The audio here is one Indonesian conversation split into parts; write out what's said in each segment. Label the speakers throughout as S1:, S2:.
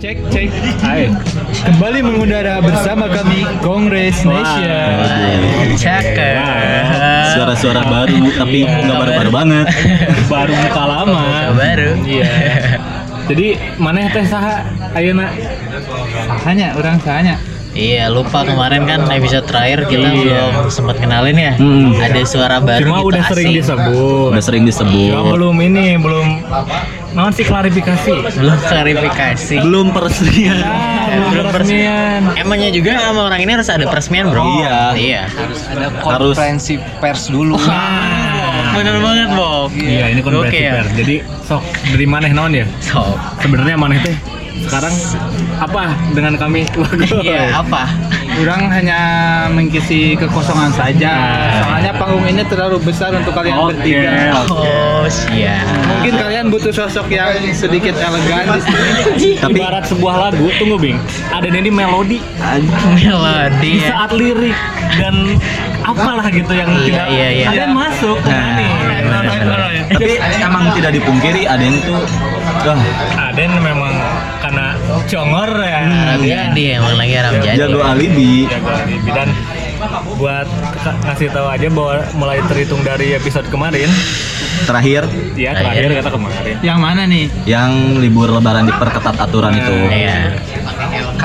S1: Cek cek. Hai. Kembali mengudara bersama kami Kongres Nation.
S2: Cakep.
S3: Suara-suara
S2: Iya.
S3: baru, tapi nggak baru-baru banget.
S1: Baru muka lama.
S2: Suara baru.
S1: Iya. Jadi mana teh saha? Ayo nak. Sahanya, orang sahanya.
S2: Iya, lupa kemarin kan episode terakhir
S1: Iya.
S2: kita
S1: Hmm.
S2: belum sempat kenalin ya.
S3: Mm.
S2: Ada suara baru
S1: Cuma
S2: gitu,
S1: udah sering
S2: asing.
S1: disebut.
S3: Udah sering
S1: Cuma
S3: disebut.
S1: belum ini, belum. Naon sih klarifikasi?
S2: Belum klarifikasi.
S3: Belum peresmian.
S1: Belum peresmian. Oh,
S2: Emangnya juga sama orang ini harus ada peresmian, Bro.
S3: Iya.
S2: Iya.
S3: Harus
S4: pers dulu.
S1: Ah.
S2: Bener banget, Bob.
S1: Iya, ini konferensi
S2: Oke, ya.
S1: pers. Jadi sok dari mana naon ya?
S2: So,
S1: Sebenarnya mana teh? Sekarang apa dengan kami?
S2: iya, apa?
S4: Kurang hanya mengisi kekosongan saja. Soalnya panggung ini terlalu besar untuk kalian
S1: Oke.
S4: bertiga.
S2: Oh, siap.
S4: Mungkin kalian butuh sosok yang sedikit elegan di sini.
S1: Tapi ibarat sebuah lagu, tunggu Bing. Ada ini melodi
S2: Melodi
S1: di
S2: ya.
S3: Hmm.
S1: saat lirik dan apalah gitu yang
S2: Iya,
S1: tidak
S2: iya, iya.
S1: ada yang masuk.
S3: Nah,
S1: Nah, nih.
S3: tapi emang tidak dipungkiri ada yang tuh wah,
S1: Aden memang karena congor ya.
S2: Arab jadi emang lagi Arab jadi.
S3: jago alibi.
S1: Jago alibi. dan buat ka- ngasih tahu aja bahwa mulai terhitung dari episode kemarin
S3: Terakhir
S1: ya
S2: Terakhir.
S1: terakhir kata kemarin
S4: Yang mana nih?
S3: yang libur lebaran diperketat aturan itu.
S2: Iya.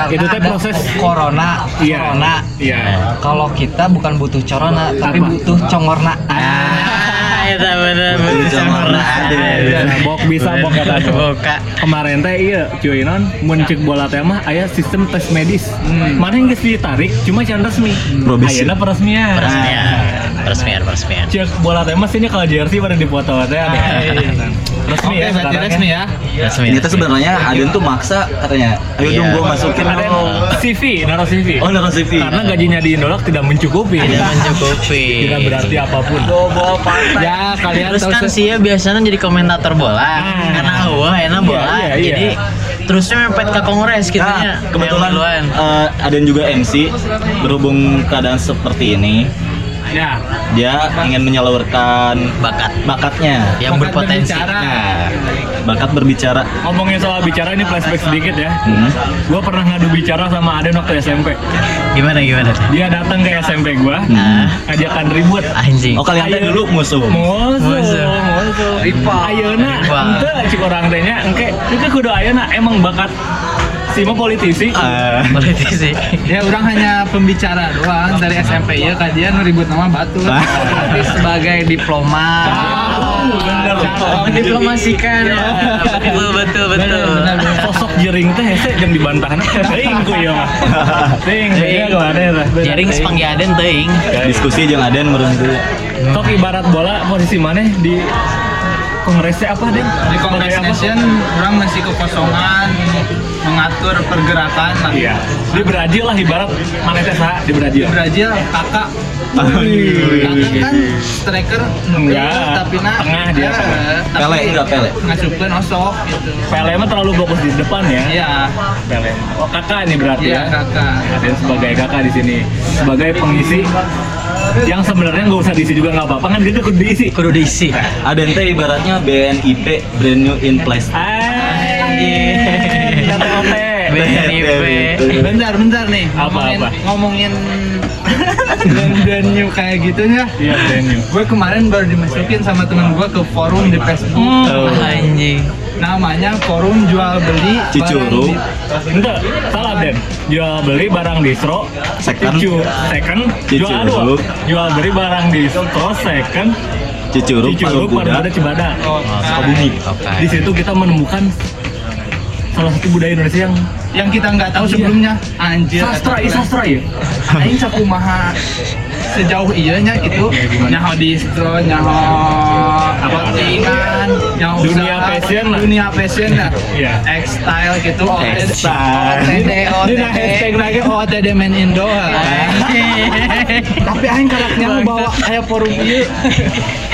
S1: Itu teh proses.
S4: corona.
S1: iya iya
S4: Kalau kita bukan butuh corona, tapi
S1: Apa?
S4: butuh congorna.
S2: Ah, itu bener bener.
S3: Itu warna ada.
S1: Iya,
S4: Iya.
S1: Nah, Bok bisa, bok kata aku.
S2: Iya, Boka.
S1: kemarin teh iya cuy non muncik bola teh mah aya sistem tes medis
S4: Hmm.
S1: mana yang geus ditarik cuma can resmi
S3: Probisi.
S1: ayeuna peresmian
S2: Peresmian, peresmian, peresmian.
S1: cek bola teh mah sini kalau jersey pada dipoto teh ada resmi
S4: Ah, iya. Oke,
S1: ya
S4: berarti
S1: sekarang
S4: resmi
S1: ya.
S4: ya.
S2: Peresmian.
S3: Ini tuh sebenarnya Aden tuh maksa katanya, ayo
S2: Iya.
S3: dong gua masukin
S1: ada yang
S3: dong.
S4: ya.
S1: CV naro CV
S3: Oh, naro
S4: iya.
S3: CV.
S1: karena gajinya di Indolog tidak mencukupi
S2: tidak mencukupi.
S1: tidak berarti apapun
S4: Ya, kalian
S2: Terus
S4: tahu
S2: kan
S4: se-
S2: sih ya biasanya jadi komentator bola,
S1: Ah.
S2: karena wah enak
S1: Iya,
S2: bola,
S1: iya, iya.
S2: jadi terusnya mepet ke kongres gitu
S3: Nah,
S2: ya.
S3: kebetulan
S2: Yang duluan.
S3: eh, Aden juga MC berhubung keadaan seperti ini,
S1: ya
S3: dia ingin menyalurkan
S2: bakat Iya.
S3: bakatnya.
S2: yang
S4: Bakat
S2: berpotensi.
S4: berbicara.
S3: Nah, bakat berbicara.
S1: ngomongin soal bicara ini flashback sedikit ya
S3: Hmm.
S1: gue pernah ngadu bicara sama Aden waktu SMP
S2: Gimana gimana?
S1: dia datang ke SMP gue
S2: Ah,
S1: ajakan ribut
S2: anjing.
S3: Oh kalian teh
S1: Ayo.
S3: dulu musuh.
S1: Musuh,
S2: Musuh.
S1: musuh.
S4: Rival.
S1: Ayeuna
S2: Rival.
S1: henteu cik urang teh nya engke engke kudu ayeuna emang bakat si mah politisi.
S3: Eh,
S2: Politisi.
S4: Ya orang hanya pembicara doang dari SMP ya kalian ribut nama batu
S3: Ah.
S4: tapi sebagai diplomat.
S1: Oh, bener.
S4: Cara mendiplomaskan.
S2: Iya, betul betul betul.
S1: Sosok jering teh hese jeung dibantahna. Teuing ku ieu mah. Teuing teuing ku ada teh.
S2: Jaring sepanggi aden teuing.
S3: Diskusi jeung Aden meureun dulu.
S1: Sok ibarat bola posisi maneh di kongresnya apa deh?
S4: Di Kongres Nation orang masih kekosongan mengatur pergerakan lah.
S1: Iya. Di Brazil lah ibarat maneh teh saha di Brazil.
S4: Di Brazil kakak kakak kan striker
S1: Enggak.
S4: tapi nah
S1: Tengah dia, tengah.
S3: Pele, enggak Pele.
S4: ngasupkan osok gitu
S1: Pele mah terlalu fokus di depan ya.
S4: iya
S1: Pele. Oh, kakak nih berarti
S4: iya
S1: ya.
S4: kakak
S1: Ada sebagai kakak di sini, sebagai pengisi yang sebenarnya nggak usah diisi juga nggak apa-apa kan gitu kudu diisi.
S2: Kudu diisi.
S3: Aden teh ibaratnya BNIP brand new in place.
S1: Hai, kata Ote.
S2: BNIP.
S4: bentar bentar nih
S1: Apa,
S4: ngomongin
S1: apa?
S4: ngomongin dan new kayak gitu ya
S1: Iya, brand new.
S4: gue kemarin baru dimasukin sama temen gue ke forum di
S1: Hmm.
S4: Facebook
S3: Oh.
S2: Anjing.
S4: namanya forum jual beli
S3: Cicuru.
S4: barang
S1: Enggak, salah Den. Jual beli barang distro,
S3: Second.
S1: Cicu, second,
S3: Cicu.
S1: jual dua. Jual beli barang distro, second,
S3: Cicuruk, Palu
S1: Cicuruk,
S3: Kuda.
S1: Parukuda, Cibadak.
S4: Oh,
S2: Nah,
S3: Sukabumi.
S1: Di situ kita menemukan salah satu budaya Indonesia yang
S4: yang kita nggak tahu sebelumnya anjir
S1: Iya. sastra, ih, sastra ya.
S4: aing sakumaha sejauh iya nya gitu nyaho distro nyaho clothingan nyaho
S1: Dunia
S4: usaha,
S1: fashion lah.
S4: dunia fashion lah
S1: Iya.
S4: textile gitu
S3: Textile.
S4: OTD
S1: Ini nah hashtag
S4: OTD
S1: lagi.
S4: OTD Oh, main Indo ah. tapi aing karaknya bawa aya forum ieu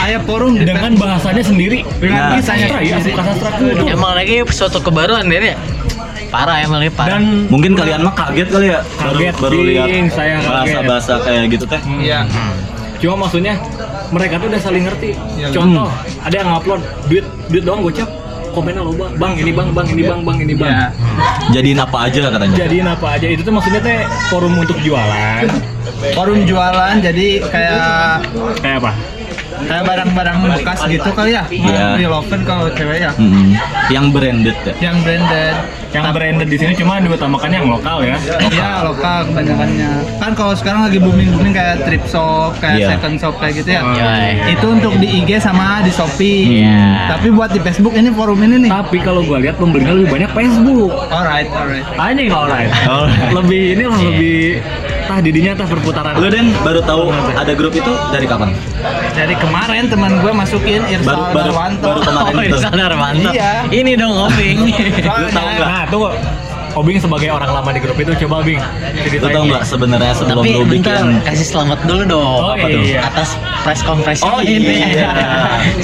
S4: aya forum di
S1: dengan bahasanya sendiri
S3: Nah.
S1: dengan bisanya sastra ya suka sastra kudu.
S2: Emang lagi suatu kebaruan Den ya. Parah emang ini parah.
S1: dan
S3: Mungkin kalian mah kaget kali ya baru
S1: Kaget,
S3: baru lihat
S1: Bing, saya kaget.
S3: bahasa-bahasa kayak gitu teh.
S4: Iya.
S1: cuma
S3: Iya, Hmm.
S1: maksudnya mereka tuh udah saling ngerti contoh ada yang ngupload duit duit doang gocap komennya loba bang ini bang bang ini bang bang ini bang
S3: Iya.
S4: Ya.
S3: Jadiin apa aja katanya.
S1: jadiin apa aja itu tuh maksudnya teh forum untuk jualan
S4: Forum jualan jadi kayak
S1: kayak apa
S4: kayak barang-barang bekas gitu kali ya.
S3: Iya.
S4: Di Loven kalau cewek ya.
S3: Mm-mm. Hmm. Yang branded ya.
S4: Yang branded.
S1: yang branded di sini cuma diutamakan yang lokal ya
S4: Iya lokal kebanyakannya. Kan kalau sekarang lagi booming booming kayak trip shop, kayak
S3: Iya.
S4: second shop kayak gitu ya.
S1: Iya,
S2: iya.
S4: Itu untuk di IG sama di Shopee.
S2: Iya.
S4: Tapi buat di Facebook ini forum ini nih.
S1: tapi kalau gua lihat pembelinya lebih banyak Facebook
S4: Alright, alright.
S1: Anjing alright.
S3: Alright.
S1: Lebih ini lah, lebih tah didinya tah perputaran.
S3: Iya. Lu Den baru tahu ada grup itu dari kapan?
S4: Dari kemarin teman gue masukin Irsal
S3: Baru- baru-
S4: Darwanto.
S3: baru kemarin.
S2: Oh, ini sadar mantap.
S4: Iya.
S2: Ini dong Oping.
S3: Lu tahu nggak?
S1: Nah, tunggu. Obing sebagai orang lama di grup itu coba Bing.
S3: Lu
S1: ceritain.
S3: tahu nggak sebenarnya sebelum
S2: Tapi
S3: lu
S2: bentar,
S3: bikin
S2: kasih selamat dulu dong.
S1: Oh,
S2: Apa tuh?
S1: iya.
S2: Atas press conference
S3: Oh
S2: ini.
S3: iya.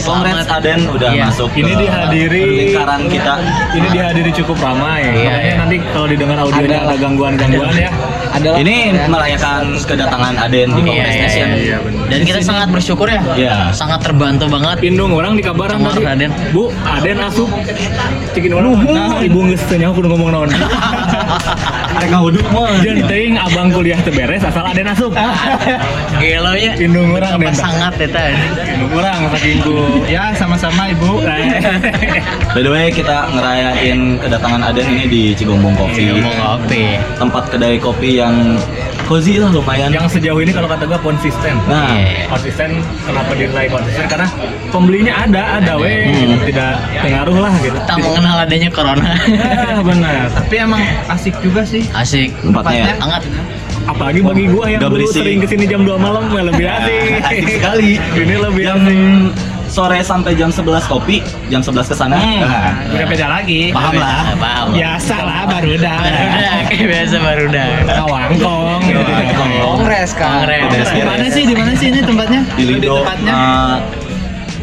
S3: Congrats
S2: Selamat.
S3: Aden udah
S2: Iya.
S3: masuk.
S1: Ini
S3: ke
S1: dihadiri.
S3: lingkaran kita.
S1: Ini dihadiri cukup ramai.
S3: Iya,
S1: Makanya nanti kalau didengar audionya
S2: Ada-
S1: ada gangguan-gangguan ya.
S2: Adalah
S3: Ini merayakan kedatangan Aden di
S2: Iya,
S3: Kongres
S2: iya,
S3: Nation.
S2: iya, Dan kita sangat bersyukur ya.
S3: Iya.
S2: Sangat terbantu banget.
S1: Pindung orang dikabaran
S2: Cemor,
S1: tadi.
S2: Aden.
S1: Bu, Aden asup. Cikin orang. Nah, ibu geus teu nyaho kudu ngomong naon.
S3: Mereka uduk mah.
S1: Jeung teuing abang kuliah teu beres asal Aden asup.
S2: Gelo nya.
S1: Pindung orang
S2: Apa
S1: Aden.
S2: sangat ya tadi.
S1: Pindung orang saking ku.
S4: Ya sama-sama ibu.
S3: By the way, kita ngerayain kedatangan Aden ini di Cigombong Coffee.
S2: Ngomong kopi.
S3: Tempat kedai kopi yang cozy lah lumayan.
S1: Yang sejauh ini kalau kata gua konsisten.
S3: Nah,
S2: Iya.
S1: konsisten kenapa dinilai konsisten karena pembelinya ada ada weh gitu. tidak pengaruh lah gitu
S2: Tak mengenal adanya corona.
S1: ah, benar
S4: Tapi emang asik juga sih.
S2: Asik.
S3: tempatnya
S2: Hangat.
S1: apalagi bagi gua yang
S3: Nggak
S1: dulu
S3: berisik.
S1: sering kesini jam 2 malam ya lebih asik
S3: asik sekali.
S1: ini lebih
S3: Jam
S1: asik
S3: sore sampai jam 11 kopi, jam 11 ke sana.
S1: Hmm.
S3: Nah,
S4: Udah beda lagi.
S3: Paham lah.
S2: Eh, Paham.
S4: Biasa lah baru dah.
S2: Barudak, kayak biasa barudak.
S1: kawangkong gitu.
S4: Kongres kan.
S2: Kongres.
S3: Kongres.
S4: Di mana sih? Di mana sih ini tempatnya?
S3: Di Lido.
S4: tempatnya.
S3: eh,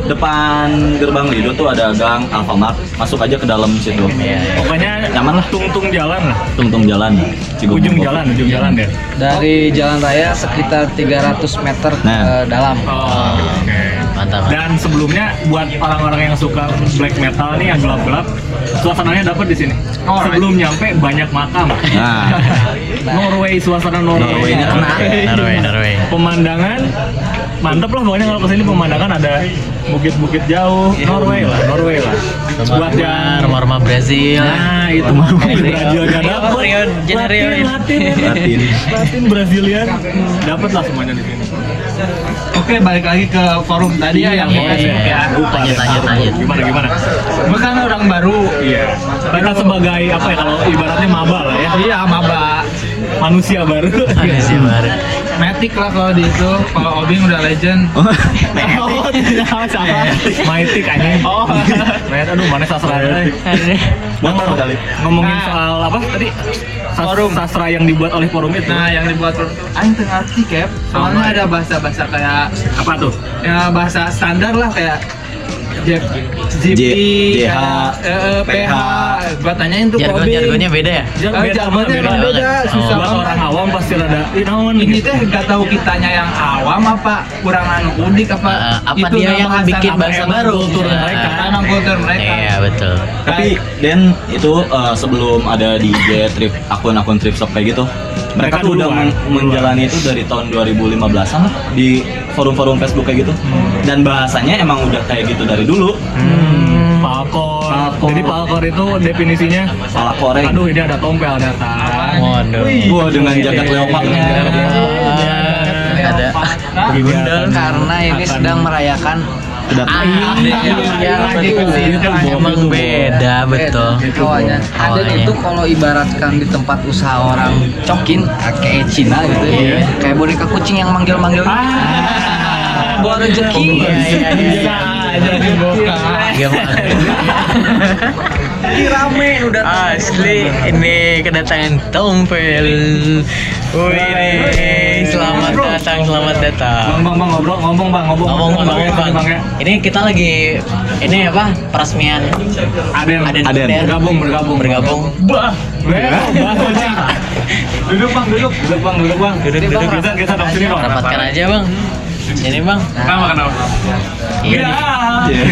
S3: depan gerbang Lido tuh ada gang Alfamart. Masuk aja ke dalam situ.
S2: Iya.
S1: pokoknya
S3: Nyaman lah.
S1: tungtung jalan lah
S3: Tung-tung jalan. Cigombong
S1: ujung
S3: Coffee.
S1: jalan ujung jalan ya. deh
S5: dari jalan raya sekitar 300 meter ke
S3: Nah.
S5: dalam.
S1: oh, oke.
S2: Mantap.
S1: dan sebelumnya buat orang-orang yang suka black metal nih yang gelap-gelap suasananya dapat di sini
S4: Oh,
S1: sebelum nyampe banyak makam
S3: Nah,
S1: Norway suasana Norway
S3: Norway-nya kena.
S2: Norway, Norway.
S1: pemandangan mantep lah pokoknya kalau kesini pemandangan ada bukit-bukit jauh Norway lah Norway lah buat yang
S2: rumah-rumah Brazil.
S1: nah itu
S4: Iya,
S1: Brazil gak dapet
S2: Rio, Rio, Rio.
S1: Latin Latin
S3: Latin.
S1: Latin Brazilian dapet lah semuanya di sini
S4: Oke, balik lagi ke forum tadi ya yang
S1: Iya,
S4: Facebook
S1: iya.
S4: ya.
S1: lupa
S2: Lanjut, lanjut, lanjut.
S1: gimana gimana
S4: Gue kan orang baru.
S1: iya kita sebagai apa ya kalau ibaratnya maba lah ya
S4: Iya, maba.
S1: manusia baru
S2: Ada sih baru.
S4: Matic lah kalau di itu. Kalau Obing udah legend.
S1: Oh, tidak salah. Mythic anjing. Oh. Mythic aduh mana sastra. ya?
S3: Motor kali.
S1: Ngomongin
S4: Nah.
S1: soal apa tadi? Sas-
S4: Forum.
S1: Sastra yang dibuat oleh forum itu.
S4: Nah, yang dibuat Aing tengah ngerti, Cap. Soalnya ada bahasa-bahasa kayak
S1: apa tuh?
S4: ya bahasa standar lah kayak J,
S3: J,
S4: JP,
S3: JH,
S4: eh, eh, PH. Gua tanyain tuh Kobi.
S2: Jargon-jargonnya beda ya?
S4: Eh, jargonnya emang
S2: beda.
S4: beda, susah
S2: Oh.
S1: Buat orang
S4: banget.
S1: awam pasti rada ih naon
S4: Ini
S1: gitu.
S4: teh gak tahu kitanya yang awam apa kurang anu unik apa
S2: Eh, apa dia yang
S4: nama
S2: bikin
S4: apa
S2: bahasa
S4: emang
S2: baru?
S4: kultur
S2: Iya.
S4: mereka emang kultur mereka
S2: Iya, betul.
S3: Tapi Den itu eh, sebelum ada di IG trip akun-akun trip shop kayak gitu, mereka,
S1: Mereka
S3: tuh udah
S1: duluan.
S3: men- menjalani itu dari tahun 2015-an lah di forum-forum Facebook kayak gitu.
S1: Hmm.
S3: Dan bahasanya emang udah kayak gitu dari dulu.
S1: Hmm, Palkor.
S3: Palkor.
S1: Jadi palkor itu definisinya
S3: Salah koreng.
S1: aduh ini ada tompel ada tang.
S2: Waduh.
S3: Gua dengan jaket leopardnya.
S1: Iya,
S2: Ada.
S1: Kegiatan.
S5: Karena ini
S1: Akan-
S5: sedang merayakan
S3: Kedatangan.
S2: Ah,
S5: Iya, iya,
S2: betul.
S5: iya,
S2: Itu
S5: iya,
S2: emang
S5: iya.
S2: beda, betul. Iya.
S5: Awalnya. Ada
S2: Awalnya.
S5: itu kalau ibaratkan di tempat usaha orang cokin kayak Cina gitu ya.
S2: Iya.
S5: Kayak boneka kucing yang manggil-manggil. Ah, buat rezeki.
S2: Iya, iya, iya, iya.
S4: jadi bukan
S2: Gak
S5: Rame udah
S6: Ah,
S2: Asli ini kedatangan Tompel. Wih, selamat datang, selamat datang.
S1: Bang bang bang ngobrol ngomong bang ngomong.
S2: Ngomong ngomong bang,
S1: Bang ya.
S2: ini kita lagi ini apa peresmian
S1: Aden.
S2: Aden,
S3: Aden.
S1: Bergabung bergabung.
S2: bergabung.
S1: Bah. Bah. Bah. Duduk bang duduk. Duduk bang duduk bang. Duduk duduk. Kita kita duduk sini bang.
S2: Rapatkan aja bang. Ini bang.
S6: Kenapa kenapa?
S2: Iya.
S6: Ya.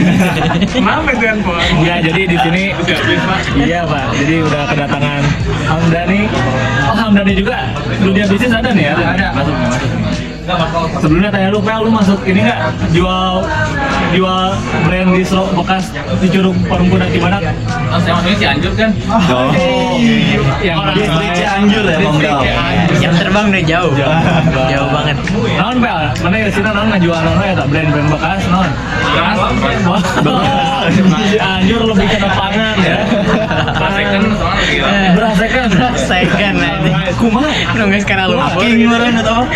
S6: Kenapa itu yang bawa?
S1: Ya jadi di sini
S6: Udah habis, Pak.
S1: iya Pak. Jadi udah kedatangan Hamdani. Oh Hamdani juga. Dunia bisnis ada nih ya? Ada. Masuk nggak masuk? Sebelumnya tanya lu, Pel, lu masuk ini nggak jual jual brand distro bekas di Curug Perumpunan Cibadak?
S4: saya maksudnya Cianjur kan?
S3: Oh.
S1: Yang
S3: Distrik Cianjur ya, Bang Dal.
S2: Jam terbang udah jauh.
S1: banget.
S2: Jauh banget.
S1: Non Pel, mana ya sini non ngejual non ya tak brand brand bekas non.
S6: Keras.
S2: Iya.
S1: Wah, Cianjur lebih ke depanan ya.
S6: Second soalnya gila.
S1: Berasekan.
S2: Second nanti.
S1: Kumaha?
S2: Nunggu sekarang lu.
S3: King meren atau apa?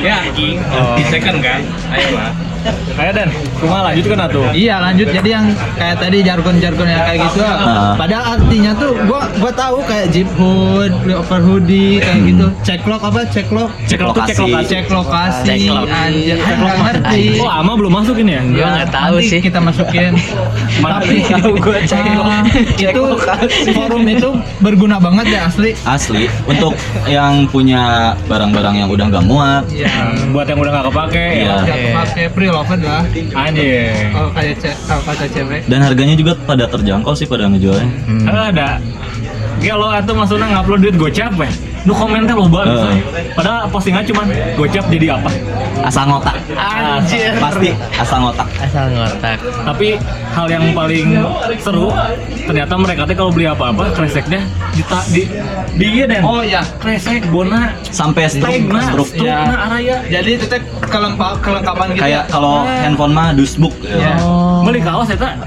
S6: Ya anjing.
S2: Oh.
S6: Di second kan. Ayo lah.
S1: Kayak Dan, kumaha lanjutkan atuh.
S4: Iya lanjut jadi yang kayak tadi jargon-jargon yang kayak gitu
S3: Ah.
S4: padahal artinya tuh gua gua tahu kayak jeep hood, flyover hoodie kayak gitu. Ceklok apa? Ceklok.
S3: Cek lokasi.
S1: Cek lokasi.
S4: Cek lokasi.
S2: Ceklok.
S4: Anjir, Saya nggak ngerti.
S1: Oh, ama belum masuk ini ya?
S2: Gua nggak tahu
S4: Nanti
S2: sih.
S4: Kita masukin. Tapi
S5: gua ceklok.
S4: eh,
S5: Cek
S4: itu
S5: lokasi.
S4: forum itu berguna banget ya asli.
S3: Asli, untuk yang punya barang-barang yang udah nggak muat,
S4: Iya.
S1: Buat yang udah nggak kepake ya.
S3: ya.
S4: Yang pakai pre-loved lah.
S1: Anjing.
S4: Kalau kayak ce- kalau kata cewek.
S3: Dan harganya juga pada terjangkau sih pada ngejualnya.
S1: Ada ada. Ya lo atau maksudnya ngupload duit gocap ya? Lu komennya lo banget.
S3: Eh.
S1: say. Padahal postingnya cuman gocap jadi apa?
S3: Asal ngotak.
S2: Anjir.
S3: Pasti asal ngotak.
S2: Asal ngotak.
S1: Tapi hal yang paling seru ternyata mereka tuh kalau beli apa-apa kreseknya di di di iya dan
S4: Oh iya.
S1: kresek bona
S3: Sampai struk,
S1: tegna
S3: struk.
S1: strukna
S4: Iya.
S1: araya
S4: Jadi itu teh kelengkap kelengkapan gitu.
S3: Kayak
S4: ya. Iya.
S3: kalau handphone mah dusbuk.
S2: Iya.
S3: Ya.
S4: oh,
S1: beli kaos eta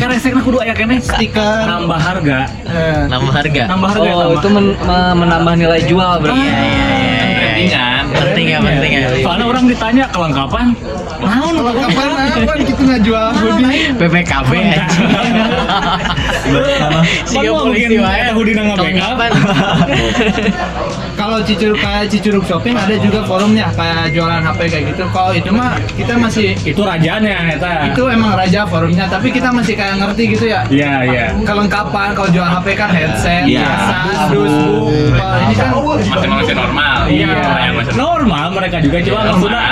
S1: kreseknya kudu aya kene
S4: Stiker.
S1: nambah harga
S4: Eh.
S2: Nambah harga.
S1: nambah harga
S5: Oh,
S1: ya, tambah.
S5: itu men- me- menambah nilai jual berarti.
S1: Iya, iya,
S2: Penting kan? Penting ya, penting ya.
S1: Soalnya orang ditanya kelengkapan, naon
S4: Kelengkapan apa gitu nggak jual hoodie?
S2: PPKB anjing. Siga polisi wae
S1: Hudi nang
S2: Kelengkapan.
S4: Kalau cicuruk kayak cicuruk shopping ada juga forumnya kayak jualan HP kayak gitu. Kalau itu mah kita masih
S1: Itu rajaannya eta.
S4: itu emang raja forumnya, tapi kita masih kayak ngerti gitu ya.
S1: Iya, iya.
S4: Kelengkapan kalau jual HP kan headset,
S3: Iya.
S4: tas, dus, Kalau ini kan
S6: Masih manusia normal.
S2: Ah, iya,
S6: Yang masih normal.
S1: Iya, Normal mereka juga cuma
S6: Normal.
S1: maksudnya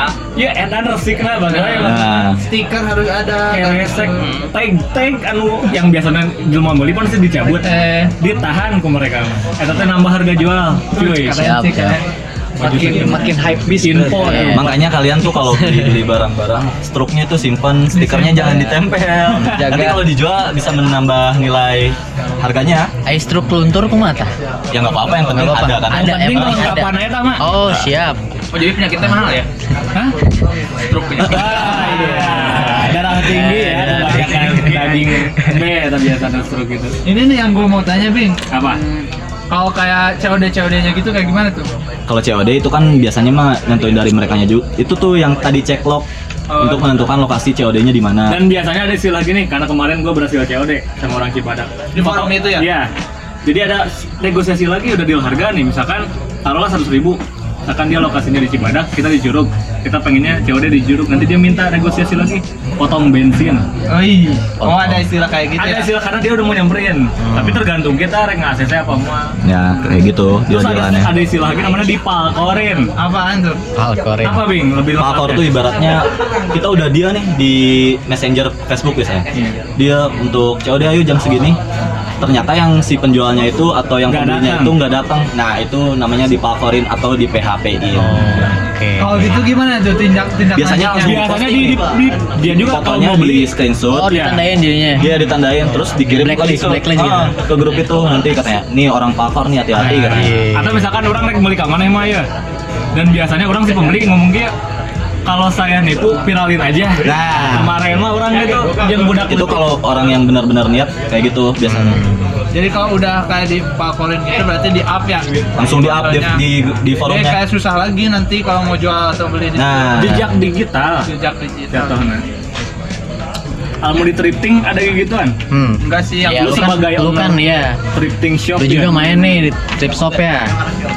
S1: ya edan resik lah
S2: Iya.
S1: bagaimana.
S3: Nah,
S4: stiker harus ada.
S1: Kresek,
S2: Hmm.
S1: tag tag anu yang biasanya jelma beli pasti dicabut.
S4: Eh,
S1: Ditahan ku mereka. Eta teh nambah harga jual. Cuy.
S2: Siap,
S4: sih,
S2: siap.
S4: kayak-
S5: Makin makin hype bis.
S1: Info.
S2: Iya.
S5: berarti.
S3: makanya kalian tuh kalau beli beli barang-barang, struknya tuh simpen, stikernya jangan ditempel.
S5: Jaga.
S3: Nanti kalau dijual bisa menambah nilai harganya.
S2: Ais truk luntur kumata.
S3: Ya nggak apa-apa yang penting
S2: Nggak apa-apa.
S3: ada kan.
S2: Ada,
S1: Penting
S2: emang ada.
S1: kelengkapan aja tama.
S2: Oh, siap.
S6: Oh jadi penyakitnya mahal ya?
S1: Hah?
S6: Stroke penyakit.
S1: Darah tinggi ya,
S2: Darah
S1: kebanyakan daging B tapi biasa stroke gitu.
S4: Ini nih yang gue mau tanya, Bing.
S1: Apa?
S4: Kalau kayak COD-COD-nya gitu kayak gimana tuh?
S3: Kalau COD itu kan biasanya mah nentuin dari merekanya juga. Itu tuh yang tadi cek log untuk menentukan lokasi COD-nya di mana.
S1: Dan biasanya ada istilah gini, karena kemarin gue berhasil COD sama orang Cipadak.
S4: Di forum itu ya?
S1: Iya. Jadi ada negosiasi lagi udah deal harga nih, misalkan taruhlah 100 ribu. Misalkan dia lokasinya di Cibadak, kita di Curug. Kita pengennya COD di Curug, nanti dia minta negosiasi lagi. Potong bensin.
S4: Oi, oh, ada istilah kayak
S1: iya.
S4: gitu
S1: ada
S4: ya? Hmm.
S1: istilah karena dia udah mau nyamperin. Tapi tergantung kita rek ngasih apa mau.
S3: Ya kayak gitu
S1: Terus ada,
S4: ya?
S3: jual-jualannya.
S1: ada istilah lagi namanya dipalkorin.
S4: Apaan tuh?
S2: Alkorin.
S1: Apa Bing? Lebih lengkap ya?
S3: Palkor tuh ibaratnya kita udah dia nih di messenger Facebook biasanya.
S1: Iya.
S3: Dia untuk COD ayo jam segini. Ternyata yang si penjualnya itu atau yang
S1: Nggak
S3: pembelinya
S1: datang.
S3: itu nggak datang. Nah itu namanya dipalkorin atau di PHP-in.
S2: Oke.
S4: Kalau gitu gimana tuh tindak tindak
S3: Biasanya langsung
S1: Oh. Biasanya di, di, di- dia juga kalau
S3: Fotonya
S1: mau
S3: di
S1: beli
S3: screenshot.
S2: Oh,
S1: Iya.
S2: ditandain dirinya.
S3: Dia ditandain terus dikirim
S2: Blacklist,
S3: ke,
S2: blacklist gitu.
S3: Ah, ke grup itu nanti katanya, nih orang pakor nih hati-hati
S1: Ah,
S3: katanya.
S1: Iya. Atau misalkan orang rek beli kamar emang ya. Dan biasanya orang si pembeli ngomong gitu kalau saya nipu viralin aja.
S3: Nah.
S1: kemarin mah orang gitu yang budak
S3: Itu kalau orang yang benar-benar niat kayak gitu biasanya.
S4: Jadi kalau udah kayak di Pakolin gitu berarti di up ya?
S3: Langsung di up di, di, di
S4: Jadi
S3: forumnya.
S4: kayak susah lagi nanti kalau mau jual atau beli iya, di
S3: Nah,
S1: jejak digital.
S4: Ya, jejak digital.
S1: Jatuhnya. Almudi Tripting ada kayak gituan?
S2: Hmm.
S4: Enggak sih yang
S2: Ya,
S1: Lu
S2: lu kan,
S1: sebagai
S2: lu
S1: owner.
S2: kan ya.
S1: Tripting shop ya?
S2: Lu juga main nih di trip shop ya.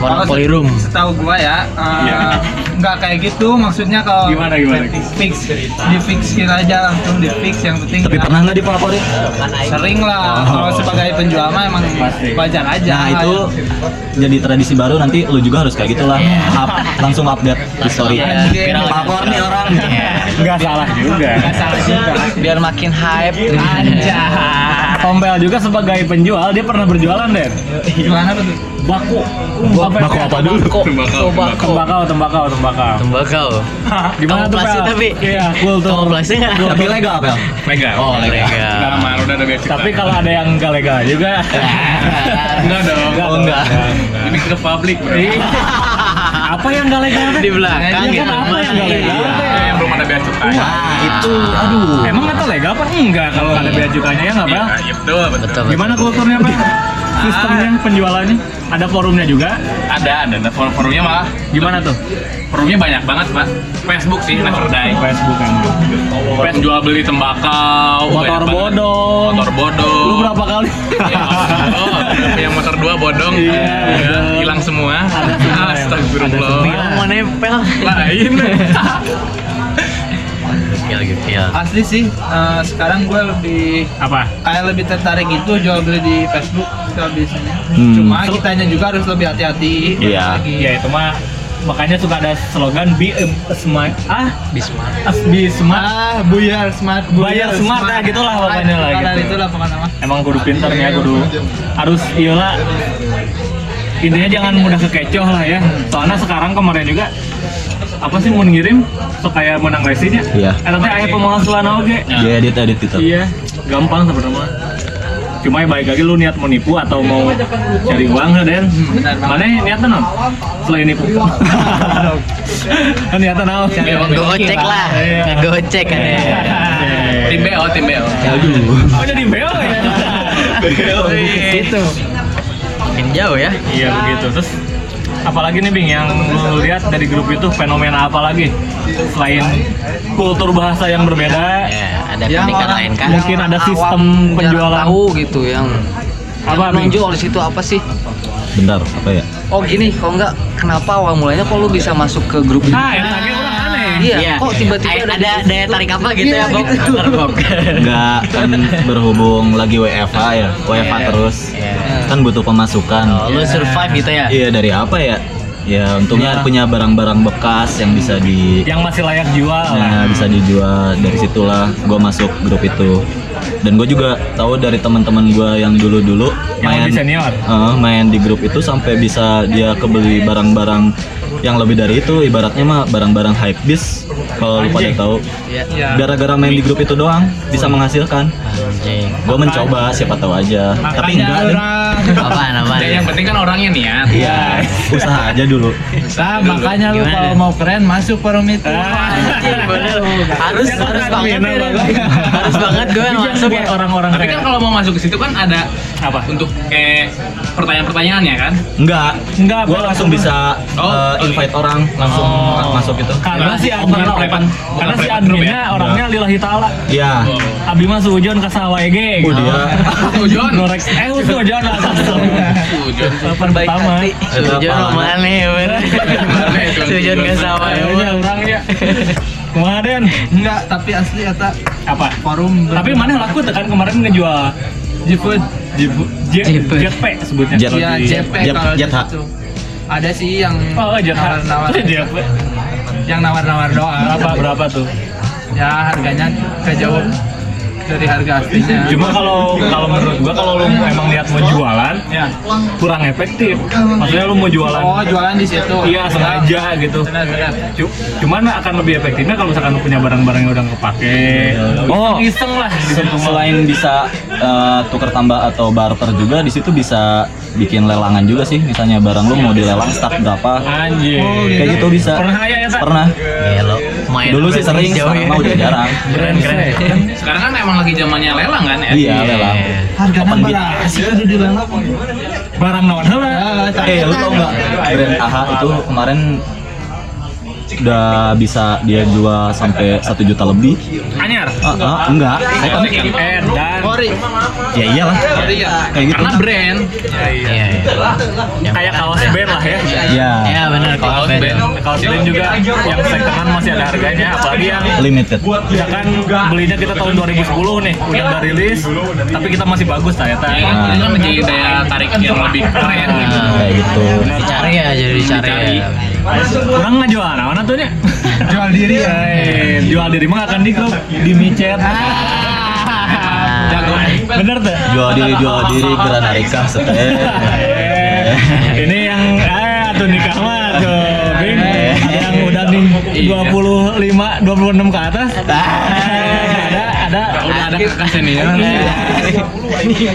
S2: Warna
S4: Kalau
S2: polirum.
S4: Setahu gua ya, eh,
S1: Iya.
S4: nggak kayak gitu. Maksudnya kalau
S1: Gimana, gimana?
S4: fix, di fixin aja langsung di fix. Yang penting
S3: Tapi
S4: ya,
S3: pernah nggak dipelaporin?
S4: sering lah. Kalau sebagai penjual mah emang
S1: Pasti.
S4: wajar aja.
S3: Nah itu jadi tradisi baru nanti lu juga harus kayak gitulah. Up, langsung update di story.
S2: Ya, viral.
S3: Pelapor nih orang.
S1: Nggak salah juga.
S4: Nggak salah juga.
S5: biar makin hype
S4: Anjay.
S1: Tompel juga sebagai penjual dia pernah berjualan Den.
S4: Gimana tuh?
S1: Baku.
S3: Baku apa dulu?
S1: Tembakau, tembakau, tembakau.
S2: Tembakau.
S1: Gimana tuh
S2: Kamuflase
S1: Pel?
S2: tapi.
S1: Iya, kultur.
S2: Kamuflase nggak?
S3: Tapi legal Pel.
S6: Mega.
S2: Oh,
S1: Iya.
S2: legal.
S6: Kamar udah ada beasiswa.
S1: Tapi kalau ada yang nggak legal juga.
S6: enggak dong.
S1: Nggak
S3: Oh, enggak.
S6: Ini ke publik, Bro.
S1: Ih, apa yang nggak legal? Den?
S2: Di belakang
S1: Iya,
S2: gitu.
S1: kan apa yang nggak legal?
S6: Eh, yang belum ada bea cukai.
S3: Nah itu, aduh.
S1: Emang nggak tahu legal apa enggak kalau nggak ada bea cukainya ya nggak Pel?
S6: Iya, iya, betul, betul.
S2: Betul.
S1: Gimana kulturnya Pak? Sistemnya penjualannya? Ada forumnya juga?
S6: Ada, ada, ada forum forumnya malah.
S1: Gimana tuh?
S6: Forumnya banyak banget, Pak. Facebook sih, Naferdai.
S1: Facebook emang.
S6: Pes jual beli tembakau,
S1: Motor
S6: banyak banget.
S1: bodong.
S6: Motor bodong.
S1: Lu berapa kali?
S6: Ya, oh, yang motor dua bodong,
S1: Iya,
S6: Ya,
S1: betul.
S6: hilang semua.
S1: Ada semua, ya.
S6: Astagfirullah.
S2: Bilang mau nempel.
S6: Lain.
S2: Gokil, gokil.
S4: Asli sih, eh, sekarang gue lebih
S1: Apa?
S4: kayak lebih tertarik itu jual beli di Facebook kalau biasanya.
S3: Hmm.
S4: Cuma kitanya juga harus lebih hati-hati. balik
S3: Iya.
S4: lagi.
S1: Ya itu mah makanya suka ada slogan be a smart ah
S2: Bismar.
S1: as- be smart
S4: Ah, buyar smart,
S1: Bayar smart, nah, gitulah pokoknya lah,
S4: Karena
S1: gitu.
S4: itulah pokoknya mah.
S1: emang kudu pinter ya kudu harus iyalah intinya jangan mudah kekecoh lah ya soalnya sekarang kemarin juga apa sih mau ngirim sok kayak menang resinya
S3: Iya.
S1: eh tapi ayah pemalsuan oke
S3: Dia edit edit gitu. itu.
S1: Iya, gampang sebenarnya. Cuma ya baik lagi lu niat mau nipu atau mau cari uang ya Den? Mana niatnya non? Selain nipu. niatnya non. Cari
S2: Ngegocek lah.
S1: Iya.
S2: Ngegocek kan ya.
S6: Tim BO, tim BO.
S3: Aduh.
S1: Oh jadi bel ya? Gitu.
S2: Itu. Gitu. Makin jauh ya.
S1: Iya begitu. Terus apalagi nih Bing yang lu lihat dari grup itu fenomena apa lagi selain kultur bahasa yang berbeda
S2: Ya, ada
S5: Yang
S2: pendidikan
S5: orang-
S2: lain kan?
S5: yang
S1: Mungkin ada
S5: orang
S1: sistem
S5: awam jarang
S1: penjualan.
S5: tahu gitu yang
S1: apa Bing?
S5: menonjol di situ apa sih
S3: Bentar, apa ya?
S5: oh gini kalau nggak kenapa awal mulanya kok lu bisa masuk ke grup ini
S1: Ah, ini lagi orang aneh.
S5: Iya, kok tiba-tiba
S2: ada,
S5: ada
S2: ada
S5: di-
S2: daya tarik apa gitu
S5: Iya,
S2: ya, Bok?
S5: gitu.
S2: Bener, Bok.
S3: Enggak kan berhubung lagi WFH ya, WFH terus. Kan butuh pemasukan.
S2: Oh, lu survive gitu ya?
S3: Iya dari apa ya? Ya untungnya
S1: Iya.
S3: punya barang-barang bekas yang bisa di
S1: Yang masih layak jual lah.
S3: Nah, bisa dijual dari situlah gue masuk grup itu dan gue juga tahu dari teman-teman gue yang dulu-dulu
S1: Yang lebih senior.
S3: Eh, main di grup itu sampai bisa dia kebeli barang-barang yang lebih dari itu ibaratnya mah barang-barang hype bis kalau lu pada
S1: Anjing.
S3: tahu
S2: Iya.
S3: gara-gara main di grup itu doang bisa menghasilkan
S2: Anjing.
S3: gue mencoba siapa tahu aja tapi
S4: Makanya
S3: enggak
S4: orang,
S2: Apaan,
S1: iya.
S2: apaan?
S6: Dan yang penting kan orangnya niat.
S3: iya usaha aja dulu
S4: nah, makanya lu
S2: Gimana?
S1: ya?
S4: kalau mau keren masuk forum itu.
S1: Ah.
S2: Anjing, bener. Harus,
S1: Dia
S2: harus
S1: keren,
S2: banget
S1: Bina,
S2: ya, Ren.
S1: bagus.
S2: Harus banget gue
S1: Tapi jangan
S2: masuk
S1: buat
S2: ya.
S1: orang-orang
S6: Tapi kan
S1: kayak-
S6: kalau mau masuk ke situ kan ada
S1: apa?
S6: untuk kayak pertanyaan-pertanyaannya kan?
S3: enggak
S1: Enggak,
S3: gue
S1: Bang.
S3: langsung bisa
S6: Oh,
S3: eh,
S6: oke.
S3: invite orang langsung masuk itu
S1: Karena
S6: Bukan-
S1: si
S6: bukan
S1: admin
S6: prepan- bukan
S1: karena si
S6: prepan
S1: adminnya
S6: grup
S1: orangnya lillahi taala.
S3: ya
S1: Abi mah sujon ke gitu. sawah ge.
S3: Oh, dia
S6: Tujuan.
S1: Gorek eh sujon lah.
S6: Tujuan.
S1: Papan pertama.
S2: Sujud
S3: Apa?
S2: sama aneh, bener.
S6: Aneh, Bang.
S2: Sujud ke sawah, ya,
S1: Kayaknya
S2: bener.
S1: orangnya. Kemarin
S4: Enggak, tapi asli kata
S1: apa?
S4: forum ber-
S1: Tapi mana laku tuh kan kemarin ngejual
S4: Jepun.
S1: Jeep- Jeep-
S2: Jeep.
S1: JP sebutnya.
S3: Jet.
S1: Kalau
S4: Iya,
S1: di-
S4: JP
S3: Jep-
S4: kalau di
S3: Jet Hub.
S4: situ. Ada sih yang
S1: Oh, JP.
S4: nawar-nawar,
S1: JP.
S4: yang nawar-nawar doang.
S1: Berapa berapa tuh?
S4: Ya harganya kejauh dari harga aslinya.
S1: Cuma kalau kalau menurut gua kalau lu emang niat mau jualan,
S4: ya.
S1: kurang efektif. Maksudnya lu mau jualan
S4: Oh, jualan di situ.
S1: Iya sengaja gitu.
S4: Benar, benar.
S1: Cu- Cuman akan lebih efektifnya kalau misalkan lu punya barang-barang yang udah kepake.
S3: Oh.
S1: iseng lah. di situ.
S3: Selain bisa eh, tuker tambah atau barter juga, di situ bisa bikin lelangan juga sih. Misalnya barang lu mau dilelang start berapa,
S1: Anjir.
S3: kayak gitu bisa.
S1: Pernah ya ya Sa?
S3: Pernah.
S2: Iya, lo main
S3: Dulu sih
S2: apa
S3: sering,
S2: jauh
S3: sekarang
S2: ya?
S3: mah udah jarang.
S1: Keren keren.
S6: Sekarang kan emang lagi zamannya lelang kan? ya?
S3: Iya lelang.
S4: Harganya
S3: Open bid.
S4: berapa? Asik aduh di
S1: Barang non heula.
S4: Ah,
S3: Eh lu tau nggak brand AHA itu kemarin udah bisa dia jual sampai satu juta lebih.
S6: anyar
S3: Ah, ah, enggak, second.
S6: second hand dan
S4: Ori.
S3: Ya iyalah. Kayak gitu.
S6: karena brand
S2: Iya, iya. Yang
S1: kayak
S2: penting-
S1: kaos band lah ya
S3: Ya,
S2: Iya benar kaos band.
S1: kaos band juga yang sekengan masih ada harganya apalagi yang
S3: limited.
S1: misalkan belinya kita tahun 2010 nih udah nggak rilis tapi kita masih bagus ternyata
S6: Ya, itu kan menjadi daya tarik yang lebih keren gitu
S2: Nah,
S3: Kayak gitu.
S2: Dicari ya jadi dicari.
S6: Dicari.
S2: ya.
S1: orang nggak jual nah, mana tuh nih
S4: Jual diri ya.
S1: Eh, jual diri mah nggak akan di grup di micet
S2: Nah,
S1: bener tuh
S3: Jual diri, jual diri, geran Arika, setel.
S1: Eh, ini yang eh tuh nikah mah tuh Bing.
S3: Eh.
S1: Ada yang udah nih 25 26 ke atas Eh, ada ada
S6: udah ada kakak senior